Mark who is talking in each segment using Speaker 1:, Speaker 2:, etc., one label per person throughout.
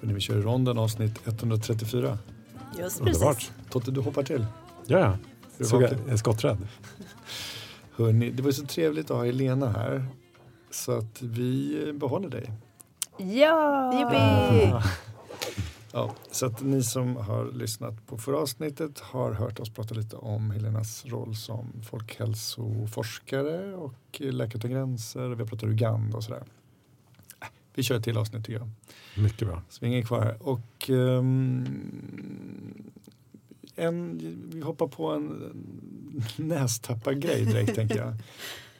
Speaker 1: Vi kör i ronden avsnitt 134.
Speaker 2: Just
Speaker 1: Underbart.
Speaker 2: precis.
Speaker 1: Totte, du hoppar till.
Speaker 3: Ja,
Speaker 1: Du
Speaker 3: ja. Såg
Speaker 1: hoppar
Speaker 3: jag,
Speaker 1: till.
Speaker 3: jag är skotträdd.
Speaker 1: Hörrni, det var ju så trevligt att ha Helena här. Så att vi behåller dig.
Speaker 2: Ja!
Speaker 4: Jippi!
Speaker 1: Ja, så att ni som har lyssnat på förra avsnittet har hört oss prata lite om Helenas roll som folkhälsoforskare och Läkare utan gränser. Vi har pratat Uganda och sådär. Äh, Vi kör ett till avsnitt tycker jag.
Speaker 3: Mycket bra.
Speaker 1: Så vi är ingen kvar här. Och ehm, en, vi hoppar på en nästappargrej direkt tänker jag.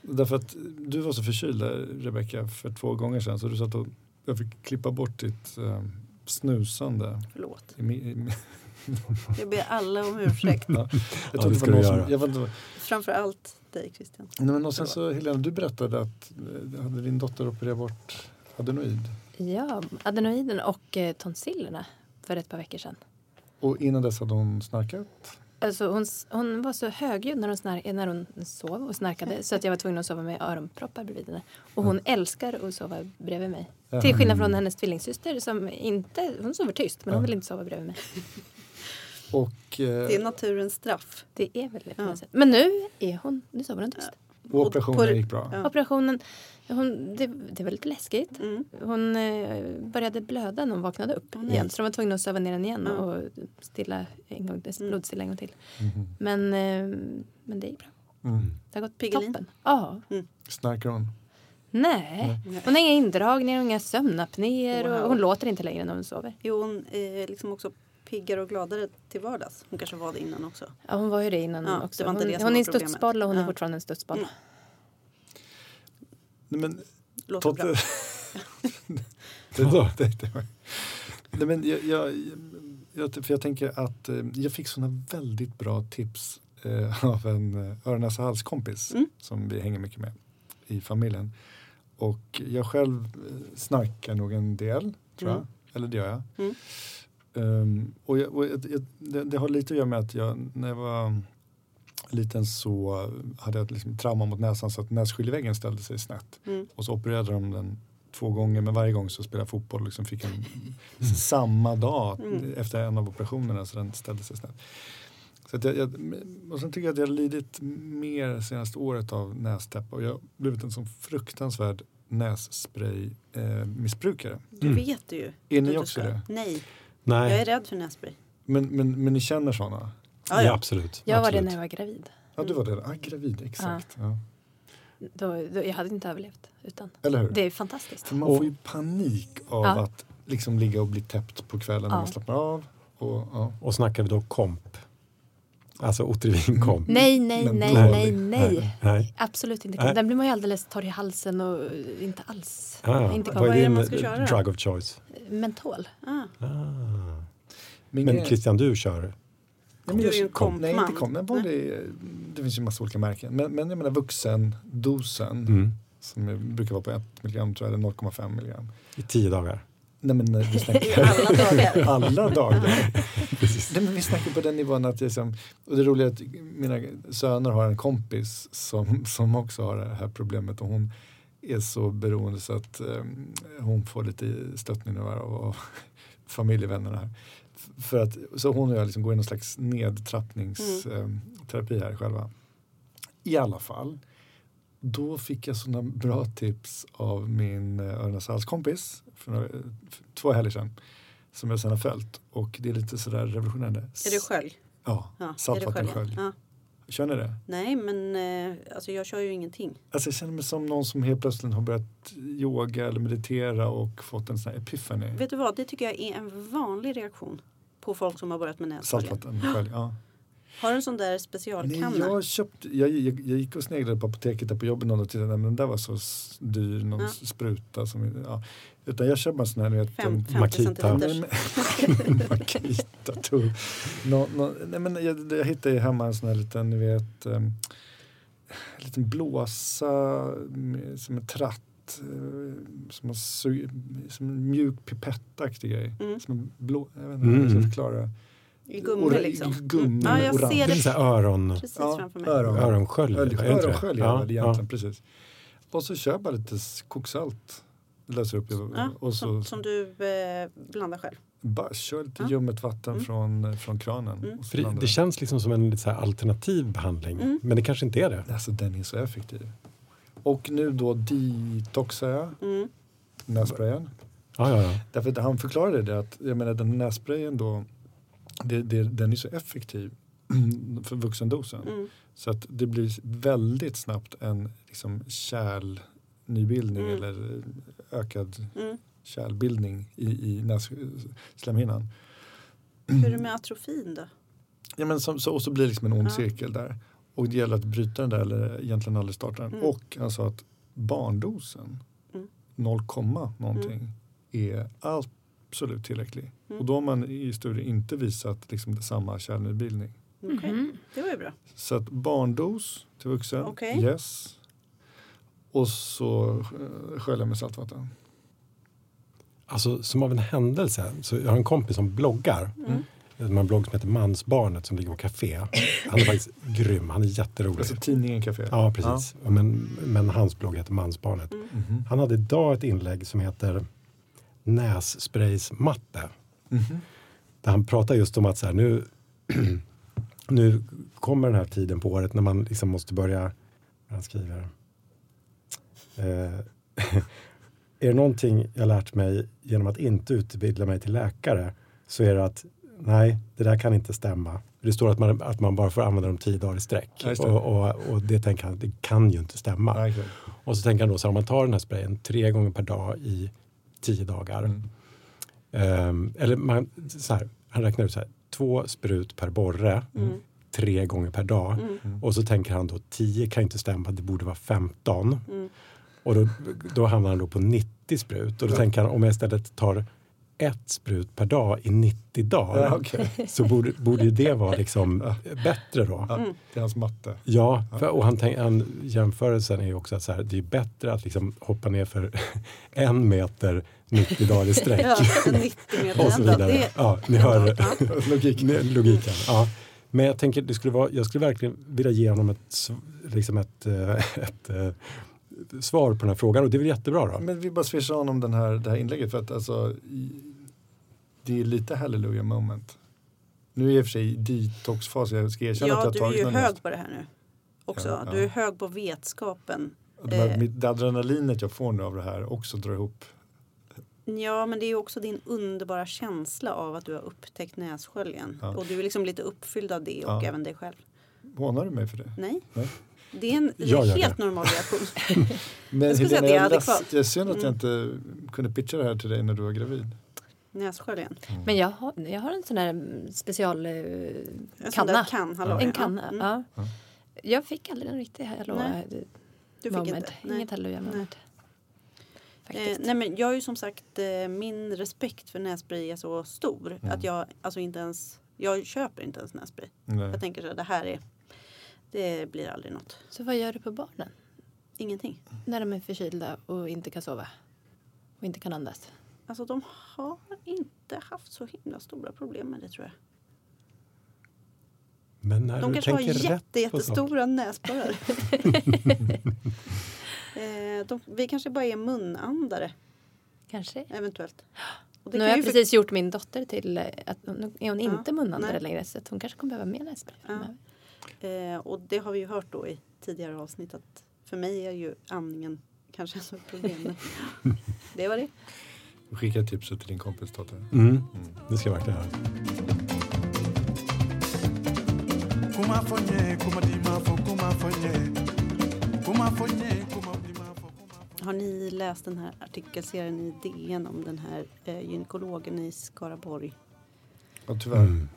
Speaker 1: Därför att du var så förkyld där, Rebecka för två gånger sedan så du satt och jag fick klippa bort ditt eh, snusande.
Speaker 2: Förlåt.
Speaker 1: I mi- i mi-
Speaker 4: Jag ber alla om ursäkt.
Speaker 1: Jag
Speaker 3: det
Speaker 1: tror
Speaker 3: ska
Speaker 1: det
Speaker 3: du
Speaker 1: var någon
Speaker 3: göra.
Speaker 1: som, jag vet inte, vad-
Speaker 4: Framför allt dig Christian.
Speaker 1: nej, men och sen så Helena, du berättade att eh, hade din dotter opererat bort adenoid
Speaker 2: Ja, adenoiden och eh, tonsillerna för ett par veckor sedan.
Speaker 1: och innan dess hade hon snarkat.
Speaker 2: Alltså hon, s- hon var så högljudd när hon, snar- när hon sov och snarkade så att jag var tvungen att sova med öronproppar bredvid henne. Och hon älskar att sova bredvid mig.
Speaker 1: Ja. Mm.
Speaker 2: Till skillnad från hennes tvillingsyster som inte, hon sover tyst men hon
Speaker 1: Ja.
Speaker 2: vill inte sova bredvid mig.
Speaker 1: Och, eh,
Speaker 4: Det är naturens straff.
Speaker 2: Det är väl det på
Speaker 4: Ja.
Speaker 2: något sätt. Men nu är hon, nu sover hon tyst.
Speaker 1: och operationen gick bra.
Speaker 4: Ja.
Speaker 2: Operationen, hon, det, det var lite läskigt.
Speaker 4: Mm.
Speaker 2: Hon eh, började blöda när hon vaknade upp
Speaker 4: Åh, nej.
Speaker 2: igen. Så de var tvungna att söva ner henne igen
Speaker 4: Ja. Mm.
Speaker 2: och stilla en gång, blodstilla en gång till.
Speaker 1: Mhm.
Speaker 2: Men, eh, men det gick bra.
Speaker 1: Mm.
Speaker 2: Det har gått
Speaker 4: Piggelin?
Speaker 2: toppen. Ja.
Speaker 1: Snarkar hon?
Speaker 2: Nej. Hon har inga indragningar, och inga sömnapnéer
Speaker 4: Wow.
Speaker 2: och hon låter inte längre när hon sover.
Speaker 4: Jo, hon är liksom också piggare och gladare till vardags. Hon kanske var det innan också.
Speaker 2: Ja, hon var ju det innan
Speaker 4: Ja,
Speaker 2: också.
Speaker 4: det var inte det
Speaker 2: hon
Speaker 4: som
Speaker 2: hon
Speaker 4: var
Speaker 2: är en
Speaker 4: problemet.
Speaker 2: studsboll och hon är
Speaker 4: Ja.
Speaker 2: fortfarande en studsboll.
Speaker 4: Mm.
Speaker 1: Nej, men
Speaker 4: Låter bra.
Speaker 1: Totte... det,
Speaker 3: Vadå?
Speaker 1: det, det var... Nej, men jag, jag, jag, för jag tänker att eh, jag fick såna väldigt bra tips eh, av en eh, öron näsa hals kompis
Speaker 4: Mm.
Speaker 1: som vi hänger mycket med i familjen. Och jag själv eh, snarkar nog en del, tror jag.
Speaker 4: Mm.
Speaker 1: Eller det gör jag.
Speaker 4: Mm.
Speaker 1: Ehm, och jag, och jag, jag, det, det har lite att göra med att jag, när jag var liten så hade jag liksom trauma mot näsan så att nässkiljeväggen ställde sig snett.
Speaker 4: Mm.
Speaker 1: Och så opererade de den två gånger, men varje gång så spelade jag fotboll och liksom fick en samma dag
Speaker 4: Mm.
Speaker 1: efter en av operationerna så den ställde sig snett. Så att jag, jag, och sen tycker jag att jag har lidit mer senaste året av nästäppa och jag har blivit en sån fruktansvärd nässpray eh, missbrukare.
Speaker 4: Du
Speaker 3: Mm.
Speaker 4: vet ju.
Speaker 1: Är
Speaker 4: att
Speaker 1: ni
Speaker 4: du
Speaker 1: också
Speaker 4: ska-
Speaker 1: det?
Speaker 4: Nej, jag är
Speaker 3: Nej,
Speaker 4: rädd för nässpray.
Speaker 1: Men, men, men ni känner såna?
Speaker 4: Ja,
Speaker 3: ja,
Speaker 4: ja.
Speaker 3: absolut.
Speaker 2: Jag var det
Speaker 3: absolut.
Speaker 2: när jag var gravid.
Speaker 1: Ja, du var det. Ah, gravid, exakt. Ja.
Speaker 2: Då, då, jag hade inte överlevt utan.
Speaker 1: Eller hur?
Speaker 2: Det är fantastiskt.
Speaker 1: För man
Speaker 3: Och-
Speaker 1: får ju panik av
Speaker 2: Ja.
Speaker 1: att liksom ligga och bli täppt på kvällen när
Speaker 2: Ja.
Speaker 1: man slappnar av. Och, ja.
Speaker 3: Och snackar vi då komp? Alltså Otrivin komp?
Speaker 4: Mm.
Speaker 2: Nej, nej,
Speaker 1: Men
Speaker 2: nej,
Speaker 1: dålig.
Speaker 2: nej, nej.
Speaker 3: Nej.
Speaker 2: Absolut inte.
Speaker 3: Nej.
Speaker 2: Den blir man ju alldeles torr i halsen och eh, inte alls.
Speaker 3: Ah,
Speaker 2: inte
Speaker 3: vad
Speaker 4: vad är
Speaker 3: är
Speaker 4: det
Speaker 3: din
Speaker 4: man ska
Speaker 3: eh,
Speaker 4: köra då?
Speaker 3: drug of choice?
Speaker 2: Mentol.
Speaker 4: Ah.
Speaker 3: Ah.
Speaker 1: Men,
Speaker 3: Men Christian, du kör?
Speaker 1: Nej, men
Speaker 4: Du är ju en
Speaker 1: kom-
Speaker 4: kompman.
Speaker 1: Nej, inte kom. Men vanlig, det finns ju massa olika märken. Men, men jag menar vuxendosen
Speaker 3: Mm.
Speaker 1: som är- brukar vara på 1 milligram tror jag, eller 0,5 milligram.
Speaker 3: I tio dagar?
Speaker 1: Nej men eh, vi
Speaker 4: I
Speaker 1: snackar
Speaker 4: alla dagar.
Speaker 1: alla dagar. Nej, men vi snackar på den nivån att jag liksom, och det roliga är att mina söner har en kompis som, som också har det här problemet och hon är så beroende så att eh, hon får lite stöttning nu här av, av familjevännerna här. F- För att, så hon och jag liksom går i någon slags
Speaker 4: Mm.
Speaker 1: nedtrappningsterapi här själva. I alla fall, då fick jag sådana bra tips av min eh, Örnas halskompis för, några- för två helger sedan som jag sedan har följt och det är lite sådär revolutionerande.
Speaker 4: Är det skölj?
Speaker 1: Ja,
Speaker 4: Ja, är det
Speaker 1: saltvattenskölj.
Speaker 4: Ja.
Speaker 1: Kör ni det?
Speaker 4: Nej, men eh, alltså, jag kör ju ingenting.
Speaker 1: Alltså jag känner mig som någon som helt plötsligt har börjat yoga eller meditera och fått en sån här epiphany.
Speaker 4: Vet du vad, det tycker jag är en vanlig reaktion på folk som har börjat med nässpray.
Speaker 1: Saltvattenskölj, ja.
Speaker 4: Har du en sån där
Speaker 1: Nej,
Speaker 4: specialkanna?
Speaker 1: jag, köpte, jag, jag, jag gick och sneglade på apoteket där på jobbet någon tid. men den där var så s- dyr, någon
Speaker 4: Ja.
Speaker 1: spruta. Som, ja. Utan jag köper en sån här, ni vet,
Speaker 4: Fem,
Speaker 1: en-
Speaker 4: 50
Speaker 3: Makita.
Speaker 4: centimeters.
Speaker 1: Makita tog. Nå, nå, nej men jag, jag hittade ju hemma en sån här liten, ni vet, um, liten blåsa med, som en tratt. eh, Som en, su- som en mjuk pipettaktig grej.
Speaker 4: Mm.
Speaker 1: Som en blå, jag vet inte hur jag
Speaker 3: Mm.
Speaker 1: ska förklara.
Speaker 4: I gummi
Speaker 1: Ora-
Speaker 4: liksom.
Speaker 1: i gummi,
Speaker 4: ja, jag
Speaker 1: orange.
Speaker 4: ser
Speaker 3: Det är
Speaker 4: det
Speaker 3: så här öron,
Speaker 4: precis framför mig.
Speaker 1: öron.
Speaker 3: öronsköljor? är det inte det?
Speaker 1: Öronsköljare
Speaker 3: Ja,
Speaker 1: ja, det
Speaker 3: ja.
Speaker 1: egentligen, precis. Och så köper jag lite s- koksalt. Löser upp i-
Speaker 4: Ja,
Speaker 1: och så,
Speaker 4: Som, som du eh, blandar själv.
Speaker 1: Bara kör lite
Speaker 4: Ja.
Speaker 1: ljummet vatten
Speaker 4: Mm.
Speaker 1: från, från kranen.
Speaker 4: Mm.
Speaker 1: och så
Speaker 3: För det,
Speaker 1: blandar
Speaker 3: det
Speaker 1: den.
Speaker 3: känns liksom som en lite så här alternativ behandling,
Speaker 4: Mm.
Speaker 3: men det kanske inte är det.
Speaker 1: Alltså den är så effektiv. Och nu då detoxar jag
Speaker 4: Mm.
Speaker 1: nässprayen.
Speaker 3: Ja, ja, ja.
Speaker 1: Därför att han förklarade det att jag menar den nässprayen då det, det, den är så effektiv för vuxendosen.
Speaker 4: Mm.
Speaker 1: Så att det blir väldigt snabbt en liksom kärlnybildning
Speaker 4: Mm.
Speaker 1: eller eh, ökad
Speaker 4: Mm.
Speaker 1: kärlbildning i, i näs, slemhinnan.
Speaker 4: Hur är det med atrofin då?
Speaker 1: Ja, men som, så, och så blir det liksom en ond
Speaker 4: Ja.
Speaker 1: cirkel där. Och det gäller att bryta den där eller egentligen aldrig starta den.
Speaker 4: Mm.
Speaker 1: Och han sa att barndosen,
Speaker 4: Mm.
Speaker 1: 0, någonting, är absolut tillräcklig.
Speaker 4: Mm.
Speaker 1: Och då har man i studier inte visat liksom samma kärlnybildning.
Speaker 4: Okej,
Speaker 2: Mhm.
Speaker 4: det var ju bra.
Speaker 1: Så att barndos till vuxen,
Speaker 4: Okej.
Speaker 1: yes. Och så eh, skölja med saltvatten.
Speaker 3: Alltså som av en händelse, så jag har en kompis som bloggar.
Speaker 4: Mm.
Speaker 3: De har en blogg som heter Mansbarnet som ligger på café. Han är faktiskt grym, han är jätterolig.
Speaker 1: Alltså tidningen Café.
Speaker 3: Ja, precis. Men, men hans blogg heter Mansbarnet.
Speaker 1: Mhm.
Speaker 3: Han hade idag ett inlägg som heter Nässpraysmatte.
Speaker 1: Mhm.
Speaker 3: Där han pratar just om att så här, nu, nu kommer den här tiden på året när man liksom måste börja... Han skriver... Eh, är det någonting jag lärt mig genom att inte utbilda mig till läkare så är det att nej, det där kan inte stämma. Det står att man, att man bara får använda dem tio dagar i sträck.
Speaker 1: Ja, just det.
Speaker 3: och, och, och det tänker han, det kan ju inte stämma.
Speaker 1: Ja, exakt.
Speaker 3: Och så tänker han då, så här, om man tar den här sprayen tre gånger per dag i tio dagar.
Speaker 1: Mm.
Speaker 3: Ehm, eller man, så här, han räknar ut så här, två sprut per borre,
Speaker 4: Mm.
Speaker 3: tre gånger per dag.
Speaker 4: Mm.
Speaker 3: Och så tänker han då, 10 kan ju inte stämma, det borde vara 15.
Speaker 4: Mm.
Speaker 3: Och då, då hamnar han då på 90 sprut. Och då
Speaker 1: Ja.
Speaker 3: tänker han, om jag istället tar ett sprut per dag i 90 dagar
Speaker 1: Ja, okej.
Speaker 3: så borde, borde ju det vara liksom
Speaker 1: Ja.
Speaker 3: bättre då.
Speaker 1: ja, det är hans matte.
Speaker 3: Ja, för, och han tänk, han, jämförelsen är ju också att så här, det är bättre att liksom hoppa ner för en meter 90 dagar i sträck.
Speaker 4: Ja, 90 meter
Speaker 3: Och så
Speaker 4: ändå.
Speaker 3: vidare.
Speaker 4: Det,
Speaker 3: Ja, ni hör
Speaker 4: Ja.
Speaker 1: Logik.
Speaker 3: ni- logiken. Ja. Men jag tänker, det skulle vara, jag skulle verkligen vilja ge honom ett, sv- liksom ett, eh, ett eh, svar på den här frågan och det är väl jättebra då?
Speaker 1: Men vi bara swishar honom den här, det här inlägget för att alltså, i- det är lite hallelujah moment. Nu är jag i och för sig i detoxfas, jag ska erkänna att jag
Speaker 4: ja,
Speaker 1: har
Speaker 4: du är
Speaker 1: tagit
Speaker 4: ju
Speaker 1: någon
Speaker 4: hög på det här nu. Också.
Speaker 1: Ja, ja.
Speaker 4: Du är hög på vetskapen.
Speaker 1: Det här-
Speaker 4: eh.
Speaker 1: Mitt adrenalinet jag får nu av det här också drar ihop.
Speaker 4: Ja, men det är ju också din underbara känsla av att du har upptäckt nässköljen.
Speaker 1: Ja.
Speaker 4: Och du är liksom lite uppfylld av det och
Speaker 1: Ja.
Speaker 4: även dig själv.
Speaker 1: Hånar du mig för det?
Speaker 4: Nej,
Speaker 1: Nej.
Speaker 4: det är en
Speaker 3: Jag gör
Speaker 4: helt normal reaktion.
Speaker 1: Men
Speaker 4: skulle säga att det är
Speaker 1: jag
Speaker 4: adekvat. Mm.
Speaker 1: det är synd att jag inte kunde pitcha det här till dig när du var gravid. Mm.
Speaker 4: Nässköljen.
Speaker 2: Men jag har, jag har en sån här mm, special...
Speaker 3: Ah,
Speaker 2: eh,
Speaker 4: En sån
Speaker 2: kanna.
Speaker 4: där kan, hallå.
Speaker 2: En kanna.
Speaker 4: Mm.
Speaker 2: Ja.
Speaker 1: Ja.
Speaker 2: Jag fick aldrig en riktig hallå
Speaker 4: Nej,
Speaker 2: eh,
Speaker 4: Du fick
Speaker 2: moment.
Speaker 4: inte. Nej.
Speaker 2: Inget hallelujah
Speaker 4: Nej.
Speaker 2: moment.
Speaker 4: Eh,
Speaker 2: Faktiskt.
Speaker 4: nej men jag är ju som sagt, eh, min respekt för nässpray är så stor
Speaker 3: Mm.
Speaker 4: att jag alltså inte ens, jag köper inte ens nässpray.
Speaker 1: Nej.
Speaker 4: Jag tänker så här, det här är, det blir aldrig något.
Speaker 2: Så vad gör du på barnen?
Speaker 4: Ingenting.
Speaker 2: När de är förkylda och inte kan sova? Och inte kan andas?
Speaker 4: Alltså de har inte haft så himla stora problem med det tror jag.
Speaker 3: Men när
Speaker 4: De
Speaker 3: du
Speaker 4: kanske har
Speaker 3: tänker
Speaker 4: jätte,
Speaker 3: rätt på saker.
Speaker 4: jättestora näsborrar. eh, de, vi kanske bara är munandare
Speaker 2: Kanske.
Speaker 4: eventuellt. Och det
Speaker 2: Nu har
Speaker 4: kan
Speaker 2: jag
Speaker 4: ju för-
Speaker 2: precis gjort min dotter till eh, att nu är hon
Speaker 4: Ja,
Speaker 2: inte munandare
Speaker 4: nej.
Speaker 2: längre så att hon kanske kommer behöva mer nässpray
Speaker 4: Ja.
Speaker 2: framöver.
Speaker 4: Eh, och det har vi ju hört då i tidigare avsnitt att för mig är ju andningen kanske ett stort problem. det var det.
Speaker 1: Skicka tipset till din kompis dotter.
Speaker 3: Mm, det ska jag verkligen göra.
Speaker 5: Kuma fonye, kuma di mafo, kuma fonye. Kuma fonye, kuma di mafo, kuma fonye.
Speaker 4: Har ni läst den här artikelserien i DN om den här eh, gynekologen i Skaraborg?
Speaker 1: Ja, tyvärr.
Speaker 3: Mm.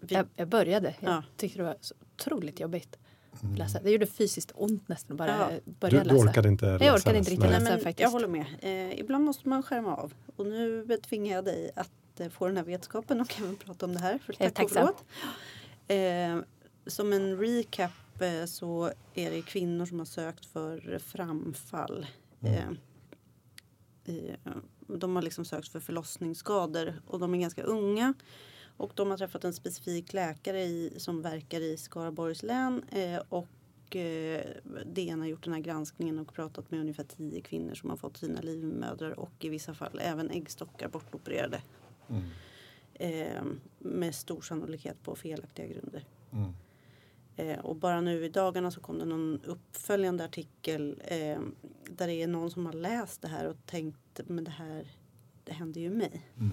Speaker 4: Vi,
Speaker 2: Jag, jag började. Jag
Speaker 4: Ja.
Speaker 2: tyckte det var så otroligt jobbigt
Speaker 1: Mm.
Speaker 2: att läsa. Det gjorde fysiskt ont nästan att bara
Speaker 4: Ja.
Speaker 2: börja
Speaker 3: Du, du
Speaker 2: läsa.
Speaker 3: orkade inte läsa?
Speaker 2: orkade inte
Speaker 3: den?
Speaker 2: riktigt
Speaker 3: Nej.
Speaker 4: Nej, men
Speaker 2: faktiskt.
Speaker 4: Jag håller med. Eh, ibland måste man skärma av. Och nu tvingar jag dig att eh, få den här vetskapen och även prata om det här. För
Speaker 2: Jag är
Speaker 4: tack och
Speaker 2: tacksam.
Speaker 4: förlåt. Eh, som en recap eh, så är det kvinnor som har sökt för framfall. Eh, i- de har liksom sökt för förlossningsskador och de är ganska unga. Och de har träffat en specifik läkare i, som verkar i Skaraborgs län. Eh, och eh, DN har gjort den här granskningen och pratat med ungefär tio kvinnor som har fått sina livmödrar och i vissa fall även äggstockar bortopererade
Speaker 1: Mm.
Speaker 4: eh, med stor sannolikhet på felaktiga grunder.
Speaker 1: Mm.
Speaker 4: Eh, och bara nu i dagarna så kom det någon uppföljande artikel eh, där det är någon som har läst det här och tänkt men det här det händer ju mig.
Speaker 1: Mm.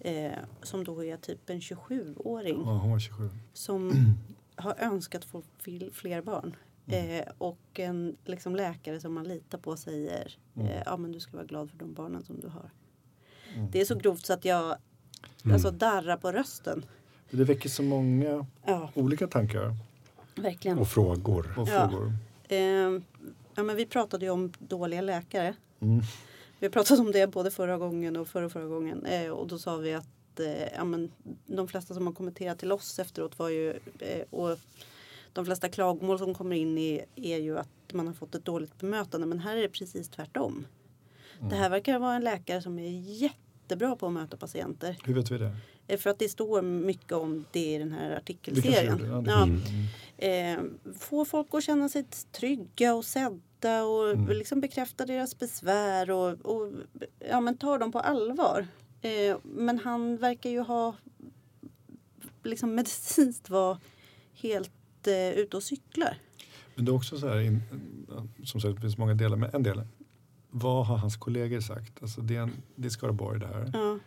Speaker 4: Eh, som då är typ en 27-åring
Speaker 1: Ja, hon var 27.
Speaker 4: som har önskat få fil- fler barn.
Speaker 1: Mm.
Speaker 4: Eh, och en liksom, läkare som man litar på säger
Speaker 1: Mm.
Speaker 4: eh, ja men du ska vara glad för de barnen som du har.
Speaker 1: Mm.
Speaker 4: Det är så grovt så att jag
Speaker 3: Mm.
Speaker 4: alltså, darrar på rösten.
Speaker 1: Det väcker så många
Speaker 4: Ja,
Speaker 1: olika tankar
Speaker 4: verkligen.
Speaker 3: Och frågor.
Speaker 1: och
Speaker 4: Ja.
Speaker 1: frågor.
Speaker 4: Eh, ja, men vi pratade ju om dåliga läkare.
Speaker 1: Mm.
Speaker 4: Vi pratade om det både förra gången och förra, förra gången. Eh, och då sa vi att eh, ja, men, de flesta som har kommenterat till oss efteråt var ju... Eh, och de flesta klagomål som kommer in i, är ju att man har fått ett dåligt bemötande. Men här är det precis tvärtom. Det här verkar vara en läkare som är jättebra på att möta patienter.
Speaker 1: Hur vet vi det?
Speaker 4: Eh, för att det står mycket om det i den här
Speaker 1: Vi kanske
Speaker 4: artikelserien.
Speaker 1: gjorde det, ja,
Speaker 4: Ja,
Speaker 1: det-
Speaker 4: eh, få folk att känna sig trygga och sedda och
Speaker 1: Mm.
Speaker 4: liksom bekräfta deras besvär och, och ja, men ta dem på allvar. Eh, men han verkar ju ha liksom medicinskt vara helt eh, ute och cyklar.
Speaker 1: Men det är också så här, in, som sagt det finns många delar, men en del. Vad har hans kollegor sagt? Alltså det är, en, det är Skaraborg det här,
Speaker 4: Ja,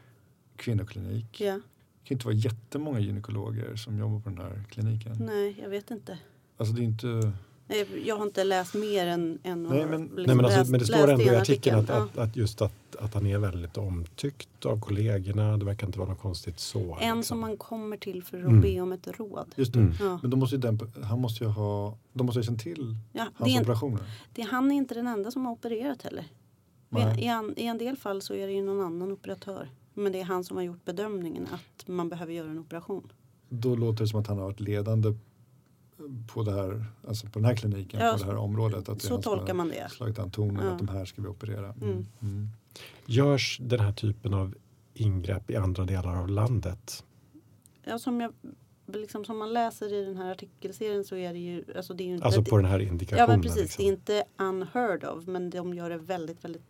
Speaker 1: kvinnoklinik.
Speaker 4: ja,
Speaker 1: Det kan inte vara jättemånga gynekologer som jobbar på den här kliniken.
Speaker 4: nej, jag vet inte.
Speaker 1: Alltså det är inte...
Speaker 4: Eh, Jag har inte läst mer än, än liksom
Speaker 1: Nej, men-
Speaker 3: Nej, men,
Speaker 4: läst-
Speaker 3: alltså, men det
Speaker 4: läst
Speaker 3: står ändå i
Speaker 4: en
Speaker 3: artikeln att,
Speaker 4: Ja.
Speaker 3: att, att just att, att han är väldigt omtyckt av kollegorna. Det verkar inte vara något konstigt så.
Speaker 4: En
Speaker 3: liksom.
Speaker 4: som man kommer till för att
Speaker 3: Mm.
Speaker 4: be om ett råd.
Speaker 1: Just det.
Speaker 3: Mm.
Speaker 4: Ja.
Speaker 1: Men då måste ju den, han måste ju ha, de måste ju ha känt till
Speaker 4: Ja, det
Speaker 1: hans
Speaker 4: är en-
Speaker 1: operationer.
Speaker 4: Det, han är inte den enda som har opererat heller. Men
Speaker 1: Nej.
Speaker 4: I en, I en del fall så är det ju någon annan operatör. Men det är han som har gjort bedömningen att man behöver göra en operation.
Speaker 1: Då låter det som att han har varit ledande på, det här, alltså på den här kliniken,
Speaker 4: Ja,
Speaker 1: på det här området. Att det är
Speaker 4: så
Speaker 1: han som har
Speaker 4: tolkar man det.
Speaker 1: slagit an tonen
Speaker 4: Ja.
Speaker 1: att de här ska vi operera.
Speaker 4: Mm.
Speaker 1: Mm.
Speaker 3: Görs den här typen av ingrepp i andra delar av landet?
Speaker 4: Ja, som, jag, liksom, som man läser i den här artikelserien så är det ju... Alltså, det är ju inte,
Speaker 3: Alltså på den här
Speaker 4: ja,
Speaker 3: indikationen?
Speaker 4: men precis.
Speaker 3: liksom.
Speaker 4: Det är inte unheard of, men de gör det väldigt, väldigt...